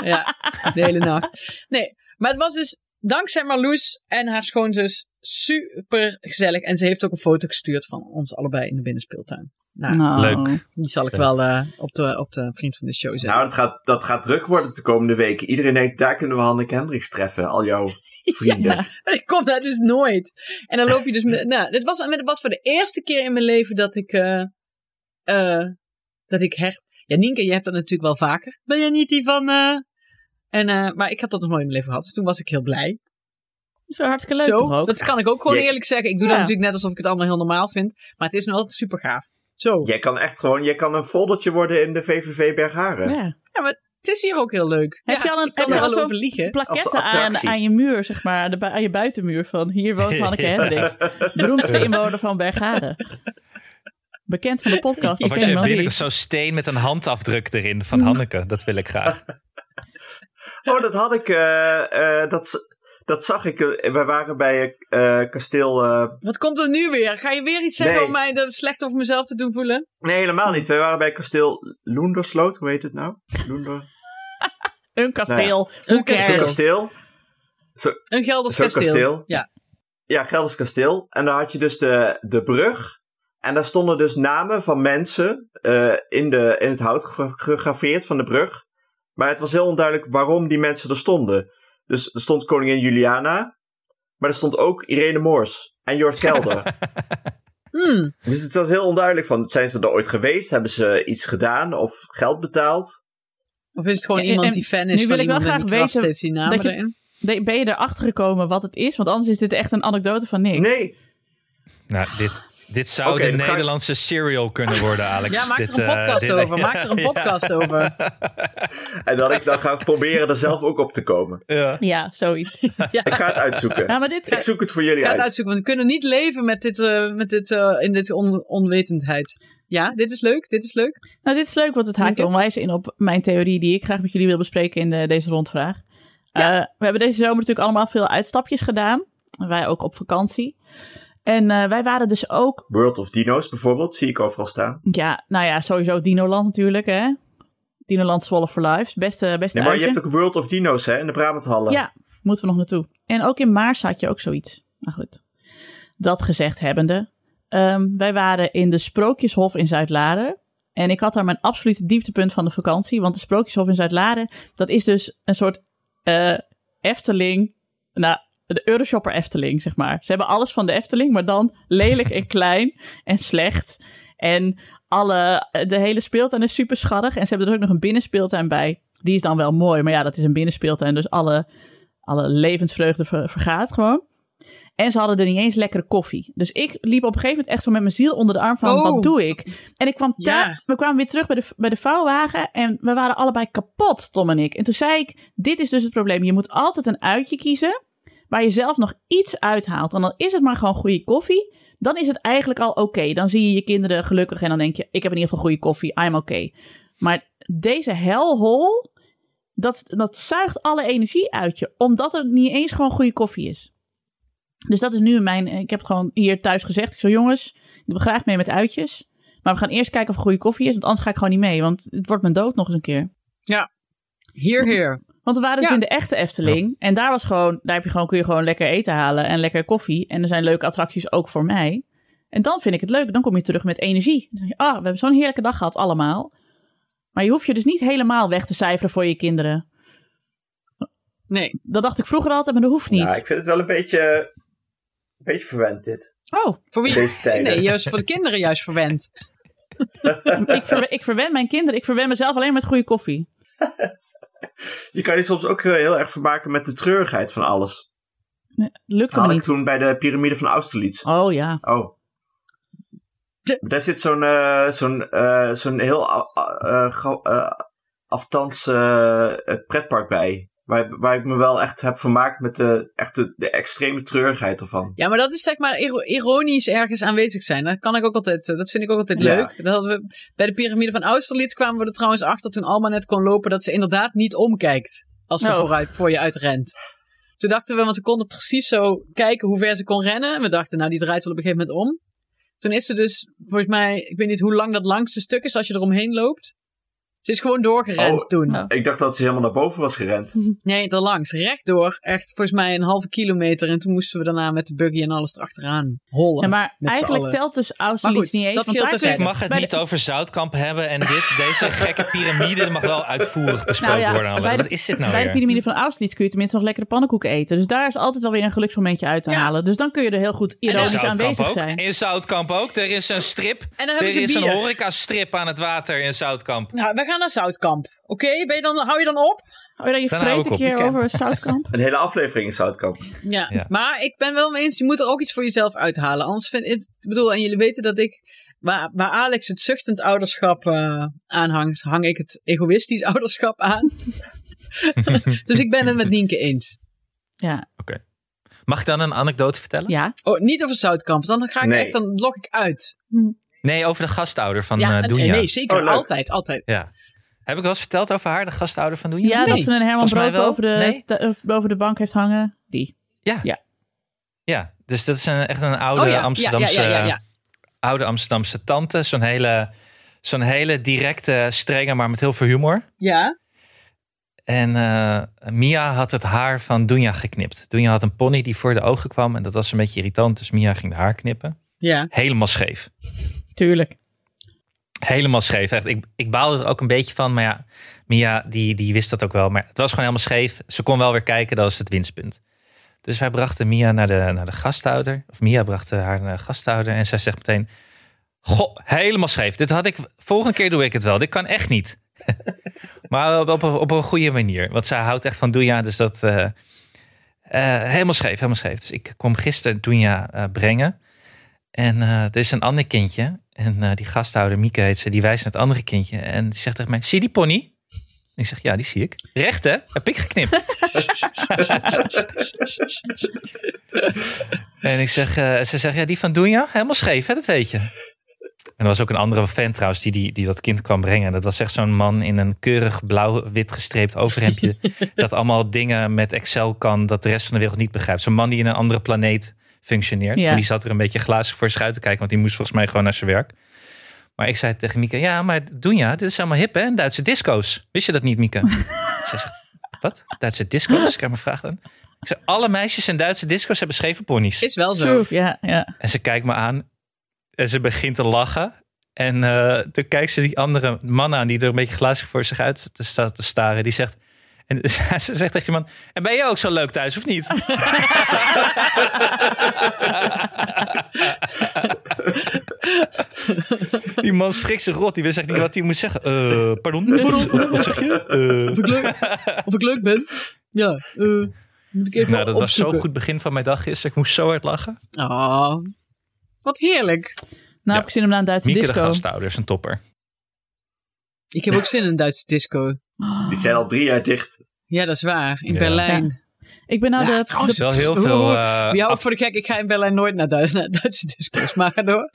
Speaker 1: Ja, de hele nacht. Nee, maar het was dus dankzij Marloes en haar schoonzus super gezellig. En ze heeft ook een foto gestuurd van ons allebei in de binnenspeeltuin. Nou,
Speaker 3: Nou,
Speaker 2: Leuk.
Speaker 1: die zal ik wel eh, op, de, op de vriend van de show zetten.
Speaker 4: Nou, dat gaat, dat gaat druk worden de komende weken. Iedereen denkt, daar kunnen we Hanneke Hendricks treffen. Al jouw vrienden.
Speaker 3: Ja.
Speaker 1: Maar ik kom daar dus nooit. En dan loop je dus met. Nou, dit was, dit was voor de eerste keer in mijn leven dat ik. eh, eh, dat ik her. Ja, Nienke, je hebt dat natuurlijk wel vaker. Ben jij niet die van. eh, En, eh, maar ik heb dat nog nooit in mijn leven gehad. Dus toen was ik heel blij.
Speaker 3: Zo hartstikke leuk
Speaker 1: Zo,
Speaker 3: toch ook?
Speaker 1: dat kan ik ook gewoon
Speaker 4: Jij-
Speaker 1: eerlijk zeggen. Ik doe dat
Speaker 3: Ja.
Speaker 1: natuurlijk net alsof ik het allemaal heel normaal vind. Maar het is nu altijd super gaaf. Zo.
Speaker 4: Jij kan echt gewoon, jij kan een foldertje worden in de VVV Bergharen.
Speaker 3: Ja.
Speaker 1: Het is hier ook heel leuk.
Speaker 3: Heb
Speaker 1: Ja,
Speaker 3: je al een-
Speaker 1: ik kan
Speaker 3: heb je
Speaker 1: er
Speaker 3: al
Speaker 1: wel
Speaker 3: zo'n
Speaker 1: over liegen.
Speaker 4: Als
Speaker 3: Plakketten
Speaker 4: een
Speaker 3: aan,
Speaker 4: attractie.
Speaker 3: aan je muur, zeg maar. De, bu- aan je buitenmuur van hier woont Hanneke
Speaker 2: Ja.
Speaker 3: Hendricks. Beroemdste inwoner van Bergharen. Bekend van de podcast.
Speaker 2: of als
Speaker 3: ik ken
Speaker 2: je
Speaker 3: hem wel
Speaker 2: binnen
Speaker 3: niet.
Speaker 2: zo'n steen met een handafdruk erin van Hanneke. Dat wil ik graag.
Speaker 4: Oh, dat had ik, eh, eh, dat, z- dat zag ik. eh, wij waren bij eh, kasteel... eh,
Speaker 1: Wat komt er nu weer? Ga je weer iets zeggen
Speaker 4: Nee.
Speaker 1: om mij dat slecht over mezelf te doen voelen?
Speaker 4: nee, helemaal niet. Wij waren bij kasteel Loendersloot. Hoe heet het nou? Loender...
Speaker 3: Een kasteel.
Speaker 1: Een kasteel.
Speaker 4: Zo'n
Speaker 3: Hoe cares?
Speaker 4: kasteel.
Speaker 1: Een Gelders
Speaker 4: Zo'n
Speaker 1: kasteel.
Speaker 4: kasteel?
Speaker 1: Ja.
Speaker 4: Ja, Gelders kasteel. En daar had je dus de, de brug. En daar stonden dus namen van mensen eh, in, de, in het hout gegra- gegraveerd van de brug. Maar het was heel onduidelijk waarom die mensen er stonden. Dus er stond koningin Juliana. Maar er stond ook Irene Moors en Jort Kelder.
Speaker 1: Hmm.
Speaker 4: dus het was heel onduidelijk van, zijn ze er ooit geweest? Hebben ze iets gedaan of geld betaald?
Speaker 1: Of is het gewoon
Speaker 3: Ja, en-
Speaker 1: iemand
Speaker 3: en
Speaker 1: die fan
Speaker 3: nu
Speaker 1: is
Speaker 3: wil
Speaker 1: van
Speaker 3: ik wel
Speaker 1: iemand en
Speaker 3: graag
Speaker 1: die krast
Speaker 3: weten
Speaker 1: steeds die namen
Speaker 3: dat je-
Speaker 1: erin?
Speaker 3: Nee, Ben je erachter gekomen wat het is? Want anders is dit echt een anekdote van niks.
Speaker 4: Nee,
Speaker 2: Nou, dit, dit zou
Speaker 4: Oké,
Speaker 2: de
Speaker 4: dat ga ik-
Speaker 2: Nederlandse serial kunnen worden, Alex.
Speaker 1: Ja, maak
Speaker 2: dit,
Speaker 1: er een
Speaker 2: eh,
Speaker 1: podcast
Speaker 2: dit-
Speaker 1: over. Maak
Speaker 2: Ja,
Speaker 1: er een podcast over.
Speaker 4: en dat ik dan ga proberen er zelf ook op te komen.
Speaker 2: ja.
Speaker 3: Ja, zoiets.
Speaker 4: Ik ga het uitzoeken.
Speaker 3: Nou, maar dit,
Speaker 4: Ik zoek het voor
Speaker 1: Ga
Speaker 4: jullie
Speaker 1: het
Speaker 4: uit.
Speaker 1: uitzoeken, want we kunnen niet leven met dit, eh, met dit, eh, in dit on- onwetendheid. Ja, dit is leuk, dit is leuk.
Speaker 3: Nou, dit is leuk, want het haakt
Speaker 1: Dank je.
Speaker 3: onwijs in op mijn theorie die ik graag met jullie wil bespreken in de- deze rondvraag. Eh, we hebben deze zomer natuurlijk allemaal veel uitstapjes gedaan. Wij ook op vakantie. En eh, wij waren dus ook,
Speaker 4: World of Dino's bijvoorbeeld, zie ik overal staan.
Speaker 3: ja, nou ja, sowieso Dinoland natuurlijk, hè. Dinoland Zwolle for Life, beste, beste
Speaker 4: Nee, maar je
Speaker 3: uitje.
Speaker 4: hebt ook World of Dino's hè, in de Brabanthallen.
Speaker 3: Ja, moeten we nog naartoe. En ook in Maars had je ook zoiets. Maar goed, dat gezegd hebbende. ehm, wij waren in de Sprookjeshof in Zuid-Laren. En ik had daar mijn absolute dieptepunt van de vakantie. Want de Sprookjeshof in Zuid-Laren, dat is dus een soort eh, Efteling. Nou, de Euroshopper Efteling, zeg maar. Ze hebben alles van de Efteling, maar dan lelijk en klein en slecht. En alle, de hele speeltuin is super scharrig. En ze hebben er ook nog een binnenspeeltuin bij. Die is dan wel mooi, maar ja, dat is een binnenspeeltuin. Dus alle, alle levensvreugde ver- vergaat gewoon. En ze hadden er niet eens lekkere koffie. Dus ik liep op een gegeven moment echt zo met mijn ziel onder de arm van,
Speaker 1: Oh.
Speaker 3: wat doe ik? En ik kwam
Speaker 1: Ja.
Speaker 3: daar, we kwamen weer terug bij de, bij de vouwwagen en we waren allebei kapot, Tom en ik. En toen zei ik, dit is dus het probleem. Je moet altijd een uitje kiezen waar je zelf nog iets uithaalt. En dan is het maar gewoon goede koffie. Dan is het eigenlijk al oké. Dan zie je je kinderen gelukkig en dan denk je, ik heb in ieder geval goede koffie, I'm oké. Maar deze helhol, dat, dat zuigt alle energie uit je, omdat er niet eens gewoon goede koffie is. Dus dat is nu mijn. Ik heb het gewoon hier thuis gezegd. Ik zo, jongens, ik wil graag mee met uitjes. Maar we gaan eerst kijken of er goede koffie is. Want anders ga ik gewoon niet mee. Want het wordt mijn dood nog eens een keer.
Speaker 1: Hier, hier.
Speaker 3: Want we waren dus
Speaker 1: Ja.
Speaker 3: in de echte Efteling. En daar was gewoon, daar heb je gewoon, kun je gewoon lekker eten halen en lekker koffie. En er zijn leuke attracties ook voor mij. En dan vind ik het leuk. Dan kom je terug met energie. Dan zeg je, ah, we hebben zo'n heerlijke dag gehad allemaal. Maar je hoeft je dus niet helemaal weg te cijferen voor je kinderen.
Speaker 1: Nee,
Speaker 3: Dat dacht ik vroeger altijd, maar dat hoeft niet.
Speaker 4: Ja, ik vind het wel een beetje, een beetje verwend dit.
Speaker 3: Oh,
Speaker 1: voor wie?
Speaker 4: Deze tijden.
Speaker 1: Nee, juist voor de kinderen juist verwend.
Speaker 3: ik, verwe- ik verwen mijn kinderen. Ik verwen mezelf alleen met goede koffie.
Speaker 4: Je kan je soms ook eh, heel erg vermaken met de treurigheid van alles.
Speaker 3: Lukt
Speaker 4: Dat
Speaker 3: hem
Speaker 4: had ik
Speaker 3: niet.
Speaker 4: toen bij de piramide van Austerlitz.
Speaker 3: Oh ja.
Speaker 4: Oh.
Speaker 1: De-
Speaker 4: Daar zit zo'n eh, zo'n eh, zo'n heel a- a- eh, gro- eh, aftans eh, eh, pretpark bij. Waar, waar ik me wel echt heb vermaakt met de, echt de, de extreme treurigheid ervan.
Speaker 1: Ja, maar dat is zeg maar iro- ironisch ergens aanwezig zijn. Dat kan ik ook altijd, eh, dat vind ik ook altijd
Speaker 4: Ja.
Speaker 1: leuk. Dat hadden we, bij de piramide van Austerlitz kwamen we er trouwens achter toen Alma net kon lopen dat ze inderdaad niet omkijkt als ze
Speaker 3: Oh.
Speaker 1: vooruit, voor je uitrent. Toen dachten we, want we konden precies zo kijken hoe ver ze kon rennen. En we dachten, nou die draait wel op een gegeven moment om. Toen is ze dus, volgens mij, ik weet niet hoe lang dat langste stuk is als je eromheen loopt. Ze is gewoon doorgerend
Speaker 4: Oh.
Speaker 1: toen.
Speaker 3: Ja.
Speaker 4: Ik dacht dat ze helemaal naar boven was gerend.
Speaker 1: Nee, daar langs. Rechtdoor. Echt volgens mij een halve kilometer. En toen moesten we daarna met de buggy en alles erachteraan hollen.
Speaker 3: Ja, maar
Speaker 1: met z'n
Speaker 3: eigenlijk
Speaker 1: allen.
Speaker 3: telt dus Austerlitz
Speaker 1: Maar goed,
Speaker 3: niet eens.
Speaker 1: dat
Speaker 3: want
Speaker 1: scheelt
Speaker 3: daar
Speaker 1: dus
Speaker 3: kun je-
Speaker 1: eigenlijk.
Speaker 2: Mag het
Speaker 3: bij
Speaker 2: niet
Speaker 3: de-
Speaker 2: over Zoutkamp hebben en dit, deze gekke piramide mag wel uitvoerig besproken
Speaker 3: Nou ja,
Speaker 2: worden. Alweer.
Speaker 3: bij de-
Speaker 2: Wat is dit nou
Speaker 3: Bij de
Speaker 2: weer?
Speaker 3: piramide van Austerlitz kun je tenminste nog lekkere pannenkoeken eten. Dus daar is altijd wel weer een geluksmomentje uit te
Speaker 1: Ja.
Speaker 3: halen. Dus dan kun je er heel goed
Speaker 1: dan-
Speaker 3: ironisch
Speaker 2: Zoutkamp
Speaker 3: aanwezig
Speaker 2: ook.
Speaker 3: zijn.
Speaker 2: In Zoutkamp ook. Er is een strip.
Speaker 1: En dan
Speaker 2: er
Speaker 1: hebben ze
Speaker 2: is een
Speaker 1: bier.
Speaker 2: horecastrip aan het water in Zoutkamp.
Speaker 1: Nou, we gaan naar Zoutkamp. Oké, ben je dan, hou je dan op?
Speaker 3: Oh, ja, je
Speaker 2: Dan hou ik
Speaker 3: vreet een
Speaker 2: op.
Speaker 3: keer
Speaker 1: Oké.
Speaker 3: over Zoutkamp.
Speaker 4: Een hele aflevering in Zoutkamp.
Speaker 1: Ja.
Speaker 2: Ja.
Speaker 1: Maar ik ben wel mee eens, je moet er ook iets voor jezelf uithalen. Anders vind ik, ik bedoel, en jullie weten dat ik, waar, waar Alex het zuchtend ouderschap eh, aanhangt, hang ik het egoïstisch ouderschap aan. dus ik ben het met Nienke eens.
Speaker 3: Ja,
Speaker 2: Mag ik dan een anekdote vertellen?
Speaker 3: ja.
Speaker 1: Oh, niet over Zoutkamp, want dan ga ik
Speaker 4: Nee.
Speaker 1: echt, dan log ik uit.
Speaker 2: Nee, over de gastouder van eh
Speaker 1: ja,
Speaker 2: Doenja.
Speaker 1: nee, zeker,
Speaker 4: Oh, leuk.
Speaker 1: altijd, altijd.
Speaker 2: Ja. Heb ik wel eens verteld over haar, de gastouder van Doenja?
Speaker 3: ja
Speaker 1: Nee.
Speaker 3: dat ze een Herman
Speaker 2: Volgens mij
Speaker 3: Brood
Speaker 2: wel.
Speaker 3: boven de,
Speaker 2: Nee.
Speaker 3: te- eh, boven de bank heeft hangen. Die.
Speaker 2: Ja, dus dat is een, echt een oude,
Speaker 1: Oh ja, ja,
Speaker 2: Amsterdamse,
Speaker 1: ja, ja, ja, ja.
Speaker 2: oude Amsterdamse tante. Zo'n hele, zo'n hele directe, strenge, maar met heel veel humor.
Speaker 1: Ja,
Speaker 2: En eh, Mia had het haar van Doenja geknipt. Doenja had een pony die voor de ogen kwam. En dat was een beetje irritant. Dus Mia ging de haar knippen.
Speaker 1: ja.
Speaker 2: Helemaal scheef.
Speaker 3: Tuurlijk.
Speaker 2: Helemaal scheef. Echt, ik, ik baalde er ook een beetje van. Maar ja, Mia die, die wist dat ook wel. Maar het was gewoon helemaal scheef. Ze kon wel weer kijken. Dat was het winstpunt. Dus wij brachten Mia naar de, naar de gasthouder. Of Mia bracht haar naar de gasthouder. En zij zegt meteen... Goh, helemaal scheef. Dit had ik... Volgende keer doe ik het wel. Dit kan echt niet. maar op, op, een- op een goede manier. Want zij houdt echt van Doenja. Dus dat... eh, eh, helemaal scheef, helemaal scheef. Dus ik kwam gisteren Doenja eh, brengen. En eh, er is een ander kindje. En eh, die gasthouder, Mieke heet ze, die wijst naar het andere kindje. En die zegt tegen mij, zie die pony? En ik zeg, ja, die zie ik. Recht, hè? Heb ik geknipt. en ik zeg, eh, ze zegt, ja, die van Doenja, helemaal scheef, hè? Dat weet je. En er was ook een andere fan trouwens die, die, die dat kind kwam brengen. Dat was echt zo'n man in een keurig blauw-wit gestreept overhemdje. dat allemaal dingen met Excel kan dat de rest van de wereld niet begrijpt. Zo'n man die in een andere planeet functioneert.
Speaker 3: Ja.
Speaker 2: Maar die zat er een beetje glazig voor zich uit te kijken. Want die moest volgens mij gewoon naar zijn werk. Maar ik zei tegen Mieke, ja, maar Doenja, dit is allemaal hip hè? En Duitse disco's. Wist je dat niet, Mieke? Zij zegt, wat? Duitse disco's? Ik krijg mijn vraag dan. Ik zei, alle meisjes in Duitse disco's hebben scheve ponies.
Speaker 1: Is wel zo.
Speaker 3: True. Ja, ja.
Speaker 2: En ze kijkt me aan en ze begint te lachen. En eh, toen kijkt ze die andere man aan die er een beetje glazig voor zich uit te- staat te staren. Die zegt, en ze zegt tegen die man, en ben jij ook zo leuk thuis of niet? die man schrikt zich rot. Die wist echt niet wat hij moet zeggen. Eh, pardon, wat, wat, wat zeg je? Eh.
Speaker 1: Of ik leuk, of ik leuk ben. Ja, eh, moet ik even
Speaker 2: nou, dat was zo'n
Speaker 1: opzoeken.
Speaker 2: goed begin van mijn dag gisteren. Ik moest zo hard lachen.
Speaker 1: Oh, wat heerlijk.
Speaker 3: Nou heb
Speaker 2: Ja.
Speaker 3: ik zin om naar een Duitse
Speaker 2: Mieke de
Speaker 3: disco.
Speaker 2: gastouder is een topper.
Speaker 1: Ik heb ook zin in een Duitse disco.
Speaker 4: Die zijn al drie jaar dicht.
Speaker 1: Ja, dat is waar. In
Speaker 2: Ja.
Speaker 1: Berlijn.
Speaker 3: Ik ben nou
Speaker 1: Ja,
Speaker 3: de...
Speaker 1: trouwens,
Speaker 2: Wel heel
Speaker 1: Oeh,
Speaker 2: veel...
Speaker 1: oeh.
Speaker 2: eh,
Speaker 1: Wie houdt voor de gek? Ik ga in Berlijn nooit naar, Duits, naar Duitse disco's. Maar ga door.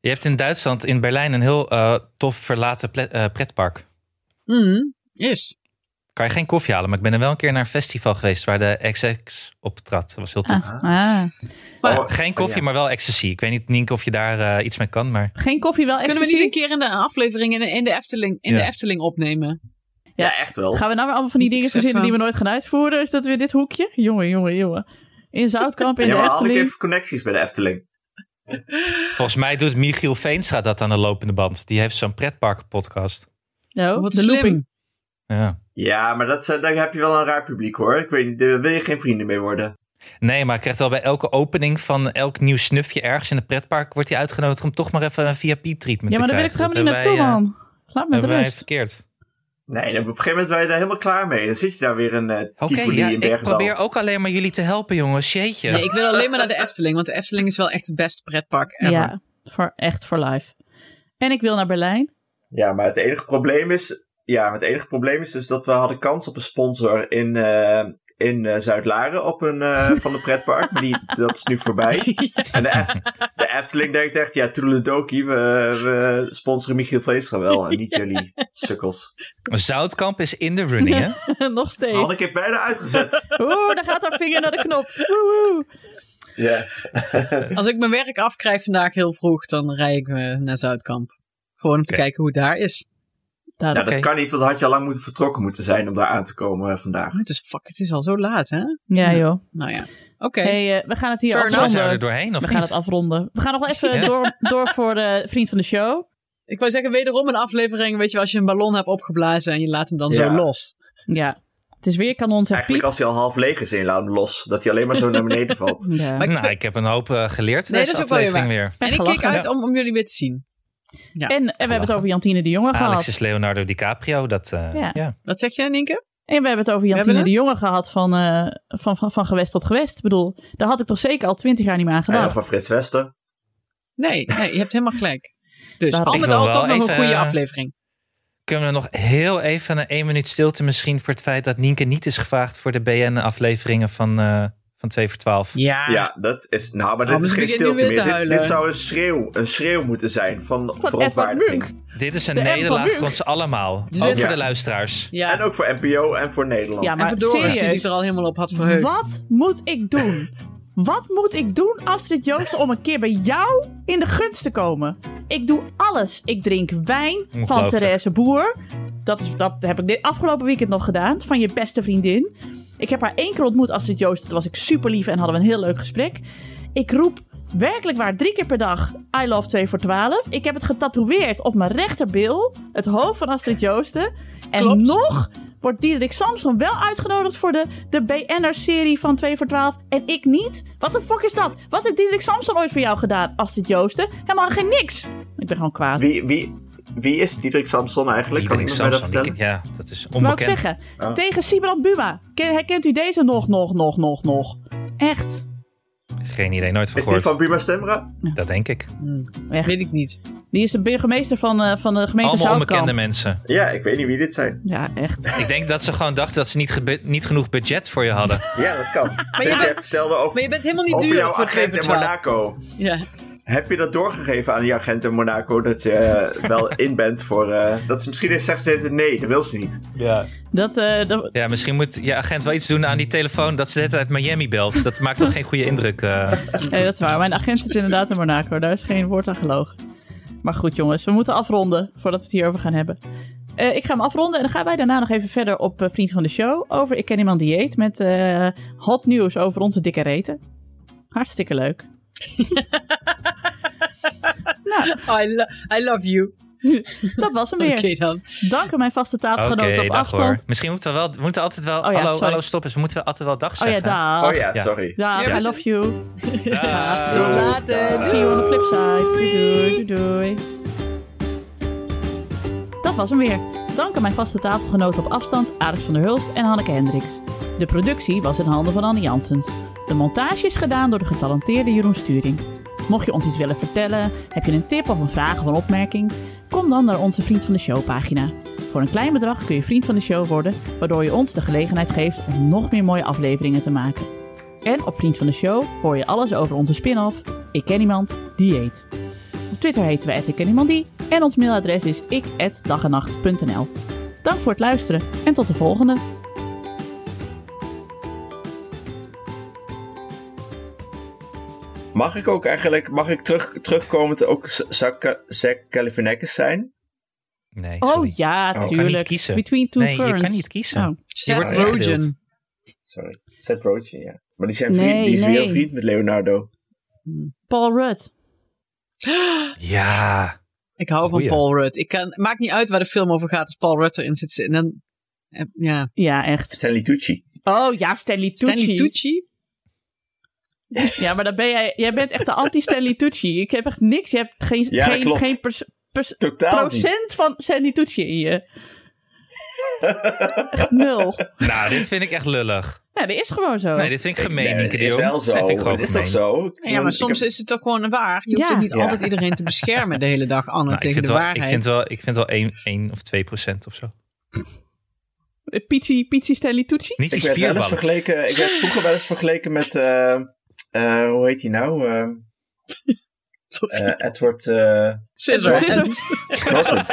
Speaker 2: Je hebt in Duitsland,
Speaker 1: Mm.
Speaker 2: in Berlijn, een heel eh, tof verlaten ple- eh, pretpark.
Speaker 1: Mhm, is.
Speaker 2: kan je geen koffie halen. Maar ik ben er wel een keer naar een festival geweest waar de XX optrad. Dat was heel tof. Eh,
Speaker 3: Ah, ah.
Speaker 1: Maar
Speaker 4: Oh,
Speaker 2: Geen koffie,
Speaker 4: ja.
Speaker 2: maar wel ecstasy. Ik weet niet, Nienke, of je daar eh, iets mee kan, maar...
Speaker 3: Geen koffie, wel
Speaker 1: kunnen we
Speaker 3: ecstasy?
Speaker 1: niet een keer in de aflevering in de, in de, Efteling, in
Speaker 2: Ja.
Speaker 1: de Efteling opnemen?
Speaker 4: Ja,
Speaker 3: Ja.
Speaker 4: echt wel.
Speaker 3: Gaan we nou weer allemaal van die
Speaker 1: Moet ik
Speaker 3: dingen
Speaker 1: eens
Speaker 3: verzinnen die we
Speaker 1: even-
Speaker 3: nooit gaan uitvoeren? Is dat weer dit hoekje? Jongen, jongen, jongen. In Zoutkamp, in
Speaker 4: ja,
Speaker 3: de
Speaker 4: maar haal ik
Speaker 3: Efteling.
Speaker 4: even connecties bij de Efteling.
Speaker 2: Volgens mij doet Michiel Veenstra dat aan de lopende band. Die heeft zo'n pretpark-podcast.
Speaker 3: Zo,
Speaker 1: Wat
Speaker 3: Oh, de
Speaker 1: slim.
Speaker 3: looping.
Speaker 2: Ja.
Speaker 4: Ja, maar dat, zijn- daar heb je wel een raar publiek hoor. Ik weet niet, daar wil je geen vrienden mee worden.
Speaker 2: Nee, maar ik krijg wel bij elke opening van elk nieuw snufje ergens in het pretpark... wordt hij uitgenodigd om toch maar even een VIP-treatment
Speaker 3: Ja, maar
Speaker 2: te
Speaker 3: daar
Speaker 2: krijgen.
Speaker 3: wil ik toch helemaal
Speaker 2: Dat
Speaker 3: niet naartoe,
Speaker 2: hebben wij, eh,
Speaker 3: man. Laat me met
Speaker 2: hebben wij
Speaker 3: rust.
Speaker 2: verkeerd.
Speaker 4: Nee, dan op een gegeven moment ben je daar helemaal klaar mee. Dan zit je daar weer een eh
Speaker 2: Oké,
Speaker 4: Tivoli
Speaker 2: ja,
Speaker 4: in
Speaker 2: ik
Speaker 4: Bergendal.
Speaker 2: probeer ook alleen maar jullie te helpen, jongens. Jeetje.
Speaker 1: Nee, ik wil alleen maar naar de Efteling, want de Efteling is wel echt het beste pretpark ever.
Speaker 3: Ja, voor, echt voor life. En ik wil naar Berlijn.
Speaker 4: Ja, maar het enige probleem is... Ja, maar het enige probleem is dus dat we hadden kans op een sponsor in, eh, in eh, Zuid-Laren op een, eh, van de pretpark. Maar die, dat is nu voorbij. En de, Eft- de Efteling denkt echt, ja, Toedeledokie, we, we sponsoren Michiel Veenstra wel. En niet jullie sukkels.
Speaker 2: Zoutkamp is in de running, hè?
Speaker 3: Nog steeds.
Speaker 4: Hanneke heeft bijna uitgezet.
Speaker 3: Oeh, daar gaat haar vinger naar de knop. Woehoe.
Speaker 4: Ja.
Speaker 1: Als ik mijn werk afkrijg vandaag heel vroeg, dan rij ik eh, naar Zuidkamp. Gewoon om te
Speaker 2: Oké.
Speaker 1: kijken hoe het daar is.
Speaker 4: Ja,
Speaker 3: Duidelijk.
Speaker 4: dat
Speaker 2: Oké.
Speaker 4: kan niet, want dan had je al lang moeten vertrokken moeten zijn om daar aan te komen eh, vandaag.
Speaker 1: Maar Oh, het is, fuck, het is al zo laat, hè?
Speaker 3: Ja,
Speaker 1: Ja.
Speaker 3: joh.
Speaker 1: Nou ja, oké.
Speaker 3: Hey, eh, we gaan het hier
Speaker 1: Fair
Speaker 2: Volgens mij zijn we er
Speaker 3: afronden.
Speaker 2: doorheen, of
Speaker 3: We
Speaker 2: niet?
Speaker 3: gaan het afronden. We gaan nog wel even
Speaker 2: Ja.
Speaker 3: door, door voor de vriend van de show.
Speaker 1: Ik wou zeggen, wederom een aflevering, weet je, wel, als je een ballon hebt opgeblazen en je laat hem dan zo
Speaker 4: Ja.
Speaker 1: los.
Speaker 3: Ja. Het is weer kanon, zegt
Speaker 4: Eigenlijk
Speaker 3: Piet.
Speaker 4: als hij al half leeg is in laat hem los. Dat hij alleen maar zo naar beneden valt.
Speaker 3: Ja.
Speaker 1: Maar ik
Speaker 2: nou,
Speaker 1: vind-
Speaker 2: ik heb een hoop eh, geleerd in
Speaker 1: Nee,
Speaker 2: deze
Speaker 1: dat is ook wel weer
Speaker 2: aflevering weer.
Speaker 1: En ik
Speaker 3: gelachen,
Speaker 1: kijk uit
Speaker 2: ja.
Speaker 1: om, om jullie weer te zien. Ja.
Speaker 3: En, en we hebben het over Jantine de Jonge
Speaker 2: Alex
Speaker 3: gehad.
Speaker 2: is Leonardo DiCaprio. Dat, eh,
Speaker 3: Ja.
Speaker 2: ja.
Speaker 1: Wat zeg jij, Nienke?
Speaker 3: En we hebben het over
Speaker 1: hebben
Speaker 3: Jantine de
Speaker 1: het?
Speaker 3: Jonge gehad van, eh, van, van, van gewest tot gewest. Ik bedoel, daar had ik toch zeker al twintig jaar niet meer aan
Speaker 4: En
Speaker 3: gedacht.
Speaker 4: van Frits Wester.
Speaker 1: Nee, nee, je hebt helemaal gelijk. Dus
Speaker 3: Daarom.
Speaker 1: al
Speaker 2: Ik
Speaker 1: met
Speaker 2: wil
Speaker 1: al
Speaker 2: wel
Speaker 1: toch nog een
Speaker 2: even,
Speaker 1: goede
Speaker 2: eh,
Speaker 1: aflevering.
Speaker 2: Kunnen we nog heel even een één minuut stilte misschien voor het feit dat Nienke niet is gevraagd voor de BN-afleveringen van, eh, van 2 voor 12?
Speaker 1: Ja.
Speaker 4: Ja, dat is. Nou, maar
Speaker 1: Ah. Oh,
Speaker 4: dit is
Speaker 1: ze
Speaker 4: geen
Speaker 1: beginnen nu weer
Speaker 4: stilte
Speaker 1: te
Speaker 4: meer. Dit,
Speaker 1: huilen.
Speaker 4: dit zou een schreeuw, een schreeuw moeten zijn van
Speaker 3: Van Edward Munch.
Speaker 4: verontwaardiging.
Speaker 2: Dit is een
Speaker 3: De M van
Speaker 2: nederlaag
Speaker 3: Luc.
Speaker 2: voor ons allemaal.
Speaker 1: Dus
Speaker 2: ook
Speaker 1: het-
Speaker 2: voor
Speaker 4: Ja.
Speaker 2: de luisteraars.
Speaker 1: Ja.
Speaker 4: En ook voor NPO en voor Nederland.
Speaker 3: Ja,
Speaker 1: En
Speaker 3: maar
Speaker 1: voor Doris, die
Speaker 3: serieus.
Speaker 1: zich er al helemaal op had verheugd.
Speaker 3: Wat moet ik doen? Wat moet ik doen, Astrid Joosten, om een keer bij jou in de gunst te komen? Ik doe alles. Ik drink wijn van
Speaker 2: Ongelooflijk.
Speaker 3: Therese Boer. Dat, is, dat heb ik dit afgelopen weekend nog gedaan. Van je beste vriendin. Ik heb haar één keer ontmoet, Astrid Joosten. Toen was ik super lief en hadden we een heel leuk gesprek. Ik roep werkelijk waar drie keer per dag I love 2 voor 12. Ik heb het getatoeëerd op mijn rechterbil. Het hoofd van Astrid Joosten. En
Speaker 1: Klopt.
Speaker 3: nog wordt Diederik Samson wel uitgenodigd voor de, de BNR-serie van 2 voor 12. En ik niet? Wat de fuck is dat? Wat heeft Diederik Samson ooit voor jou gedaan, Astrid Joosten? Helemaal geen niks. Ik ben gewoon kwaad.
Speaker 4: Wie, wie, wie is Diederik Samson eigenlijk?
Speaker 2: Diederik
Speaker 4: kan ik me dat
Speaker 2: Samson, die
Speaker 4: vertellen?
Speaker 2: ken- ja, dat is
Speaker 3: Wou ik
Speaker 2: onbekend.
Speaker 3: zeggen.
Speaker 4: Ah.
Speaker 3: Tegen Sibrand Buma. Ken- herkent u deze nog, nog, nog, nog, nog? Echt.
Speaker 2: Geen idee, nooit van
Speaker 4: Is dit
Speaker 2: gehoord.
Speaker 4: van Buma Stemra?
Speaker 2: Dat denk ik.
Speaker 1: Hmm,
Speaker 3: Echt.
Speaker 1: weet ik niet.
Speaker 3: Die is de burgemeester van, eh, van de gemeente
Speaker 2: Allemaal
Speaker 3: Zoutkamp.
Speaker 2: onbekende mensen.
Speaker 4: Ja, ik weet niet wie dit zijn.
Speaker 3: Ja, echt.
Speaker 2: Ik denk dat ze gewoon dachten dat ze niet, gebe- niet genoeg budget voor je hadden.
Speaker 4: Ja, dat kan. Sinds jij vertelde
Speaker 1: Maar
Speaker 4: over,
Speaker 1: je bent helemaal niet
Speaker 4: over
Speaker 1: duur
Speaker 4: jouw
Speaker 1: voor 2
Speaker 4: agent
Speaker 1: voor
Speaker 4: in
Speaker 1: 12.
Speaker 4: Monaco.
Speaker 1: Ja.
Speaker 4: Heb je dat doorgegeven aan die agent in Monaco dat je eh, wel in bent voor. eh, dat ze misschien eens zegt ze de hele tijd, nee, dat wil ze niet.
Speaker 3: Dat, eh, dat,
Speaker 2: Ja, misschien moet je agent wel iets doen aan die telefoon dat ze net uit Miami belt. Dat maakt toch geen goede indruk. eh.
Speaker 3: Nee, dat is waar. Mijn agent zit inderdaad in Monaco. Daar is geen woord aan gelogen. Maar goed, jongens, we moeten afronden voordat we het hierover gaan hebben. Eh, ik ga hem afronden en dan gaan wij daarna nog even verder op eh, Vriend van de Show over Ik Ken Iemand Die Eet met eh, hot nieuws over onze dikke reten. Hartstikke leuk.
Speaker 1: I, lo- I love you.
Speaker 3: Dat was hem
Speaker 1: Oké
Speaker 3: weer.
Speaker 1: dan.
Speaker 3: Dank aan mijn vaste tafelgenoot op
Speaker 2: dag
Speaker 3: afstand.
Speaker 2: hoor. Misschien moeten we wel, we moeten altijd wel,
Speaker 3: Oh ja,
Speaker 2: hallo,
Speaker 3: sorry.
Speaker 2: hallo, stop eens. We moeten wel altijd wel dag
Speaker 3: Oh ja,
Speaker 2: zeggen.
Speaker 3: dag.
Speaker 4: Oh ja,
Speaker 2: Ja.
Speaker 4: sorry.
Speaker 3: Dag,
Speaker 1: Ja.
Speaker 3: I love you.
Speaker 2: Dag.
Speaker 1: Zo later.
Speaker 3: See you on the flip side. Doei, doei, doei. Dat was hem weer. Dank aan mijn vaste tafelgenoten op afstand, Alex van der Hulst en Hanneke Hendricks. De productie was in handen van Annie Janssens. De montage is gedaan door de getalenteerde Jeroen Sturing. Mocht je ons iets willen vertellen, heb je een tip of een vraag of een opmerking, kom dan naar onze Vriend van de Show pagina. Voor een klein bedrag kun je Vriend van de Show worden, waardoor je ons de gelegenheid geeft om nog meer mooie afleveringen te maken. En op Vriend van de Show hoor je alles over onze spin-off Ik Ken Iemand Die Eet. Op Twitter heten we @ikkenniemandie en ons mailadres is ik@dagennacht.nl. Dank voor het luisteren en tot de volgende.
Speaker 4: Mag ik ook eigenlijk, mag ik terug, terugkomend ook Z- zou Ka- Zack Galifianakis zijn?
Speaker 2: Nee,
Speaker 3: Oh
Speaker 2: sorry.
Speaker 3: ja,
Speaker 4: kan
Speaker 3: tuurlijk.
Speaker 2: niet kiezen.
Speaker 3: Between two
Speaker 2: Nee, je
Speaker 3: ferns.
Speaker 2: kan niet kiezen.
Speaker 3: Oh.
Speaker 1: Seth
Speaker 2: wordt weggedeeld.
Speaker 1: Rogen.
Speaker 4: Sorry, Seth Rogen, ja. Maar die, zijn
Speaker 3: Nee,
Speaker 4: vriend, die is
Speaker 3: nee.
Speaker 4: weer een vriend met Leonardo.
Speaker 3: Paul Rudd.
Speaker 2: Ja.
Speaker 1: Ik hou
Speaker 2: Goeie.
Speaker 1: van Paul Rudd. Ik kan, maakt niet uit waar de film over gaat als Paul Rudd erin zit. En dan, eh, ja.
Speaker 3: Ja, echt.
Speaker 4: Stanley Tucci.
Speaker 3: Oh ja, Stanley Tucci.
Speaker 1: Stanley Tucci?
Speaker 3: Ja, maar dan ben jij, jij bent echt de anti-Stanley Tucci. Ik heb echt niks. Je hebt geen,
Speaker 4: Ja,
Speaker 3: geen,
Speaker 4: klopt.
Speaker 3: geen pers- pers-
Speaker 4: Totaal niet.
Speaker 3: procent van Stanley Tucci in je. Echt nul.
Speaker 2: Nou, dit vind ik echt lullig.
Speaker 3: Ja, dat is gewoon zo.
Speaker 2: Nee, dit vind ik gemeen,
Speaker 4: Nee,
Speaker 2: Nienke
Speaker 4: het
Speaker 2: de
Speaker 4: is
Speaker 2: Jong.
Speaker 4: wel zo.
Speaker 2: Dat vind ik gewoon
Speaker 4: Het is toch
Speaker 2: gemeen.
Speaker 4: zo? Ik
Speaker 1: Ja,
Speaker 4: bedoel,
Speaker 1: maar
Speaker 4: ik
Speaker 1: soms
Speaker 4: heb-
Speaker 1: is het toch gewoon waar. Je hoeft
Speaker 3: Ja.
Speaker 1: ook niet
Speaker 4: Ja.
Speaker 1: altijd iedereen te beschermen de hele dag, Anne,
Speaker 2: Nou, ik,
Speaker 1: tegen
Speaker 2: vind
Speaker 1: de
Speaker 2: wel,
Speaker 1: waarheid.
Speaker 2: ik vind wel, ik vind wel 1, 1 of 2 procent of zo.
Speaker 3: Pizzi, Pizzi Stanley Tucci?
Speaker 2: Niet die
Speaker 4: Ik werd, wel eens
Speaker 2: spierballen.
Speaker 4: vergeleken, ik werd vroeger wel eens vergeleken met, eh, eh, hoe heet hij nou? Eh,
Speaker 1: Sorry.
Speaker 4: eh, Edward eh
Speaker 1: Scissor.
Speaker 3: Scissor.
Speaker 4: Norton.